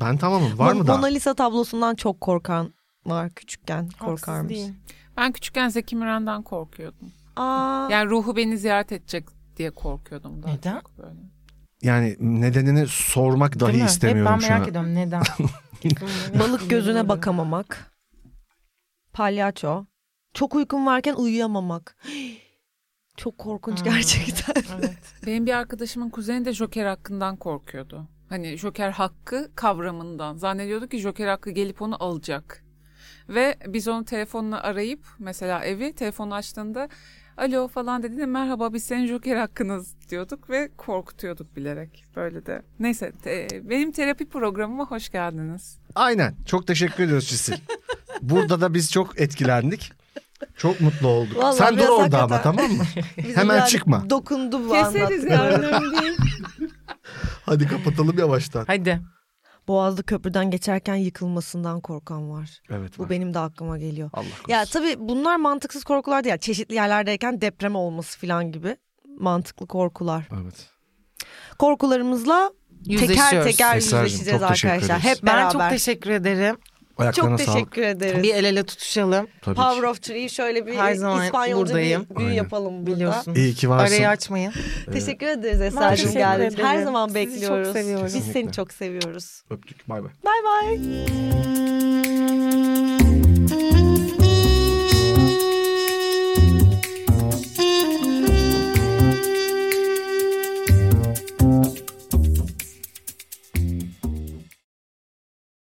ben tamamım. Var Mon- mı daha? Mona Lisa tablosundan çok korkan var küçükken ben. Haksız korkarmış. değil. Ben küçükken Zeki Müren'den korkuyordum. Aa, Yani ruhu beni ziyaret edecek diye korkuyordum. Daha Neden? çok böyle. Yani nedenini sormak dahi Değil mi? istemiyorum Hep ben şu an. merak ediyorum (laughs) neden? (laughs) balık gözüne bakamamak. Palyaço. Çok uykum varken uyuyamamak. (gasps) Çok korkunç (laughs) gerçekten. Evet. Benim bir arkadaşımın kuzeni de Joker hakkından korkuyordu. Hani Joker hakkı kavramından. Zannediyordu ki Joker hakkı gelip onu alacak. Ve biz onu telefonla arayıp mesela evi telefon açtığında alo falan dediğinde merhaba biz senin Joker hakkınız diyorduk ve korkutuyorduk bilerek böyle de. Neyse te- benim terapi programıma hoş geldiniz. Aynen. Çok teşekkür ediyoruz Cisil. Burada da biz çok etkilendik. Çok mutlu olduk. Vallahi Sen dur biraz orada ama hakikaten- (laughs) tamam mı? Bizi Hemen biraz çıkma. Dokundu bu Keseriz ya anlattıkları. önemli değil. Hadi kapatalım yavaştan. Hadi. (laughs) Boğazlı köprüden geçerken yıkılmasından korkan var. Evet. Bu var. benim de aklıma geliyor. Allah Ya korusun. tabii bunlar mantıksız korkular değil. Yani çeşitli yerlerdeyken deprem olması falan gibi mantıklı korkular. Evet. Korkularımızla teker Yüzleşiyoruz. teker Esra'cığım, yüzleşeceğiz çok teşekkür arkadaşlar. ederiz. Hep Ben beraber. çok teşekkür ederim. Ayaklarına Çok sağlık. teşekkür ederiz. Bir el ele tutuşalım. Tabii ki. Power of Three şöyle bir Her zaman İspanyolca buradayım. bir büyü Aynen. yapalım burada. Biliyorsunuz. İyi ki varsın. Arayı açmayın. Teşekkür ederiz Ben Esra'cığım teşekkür geldiğin için. Her ederim. zaman Sizi çok bekliyoruz. seviyorum. Biz seni Kesinlikle. çok seviyoruz. Öptük. Bay bay. Bay bay.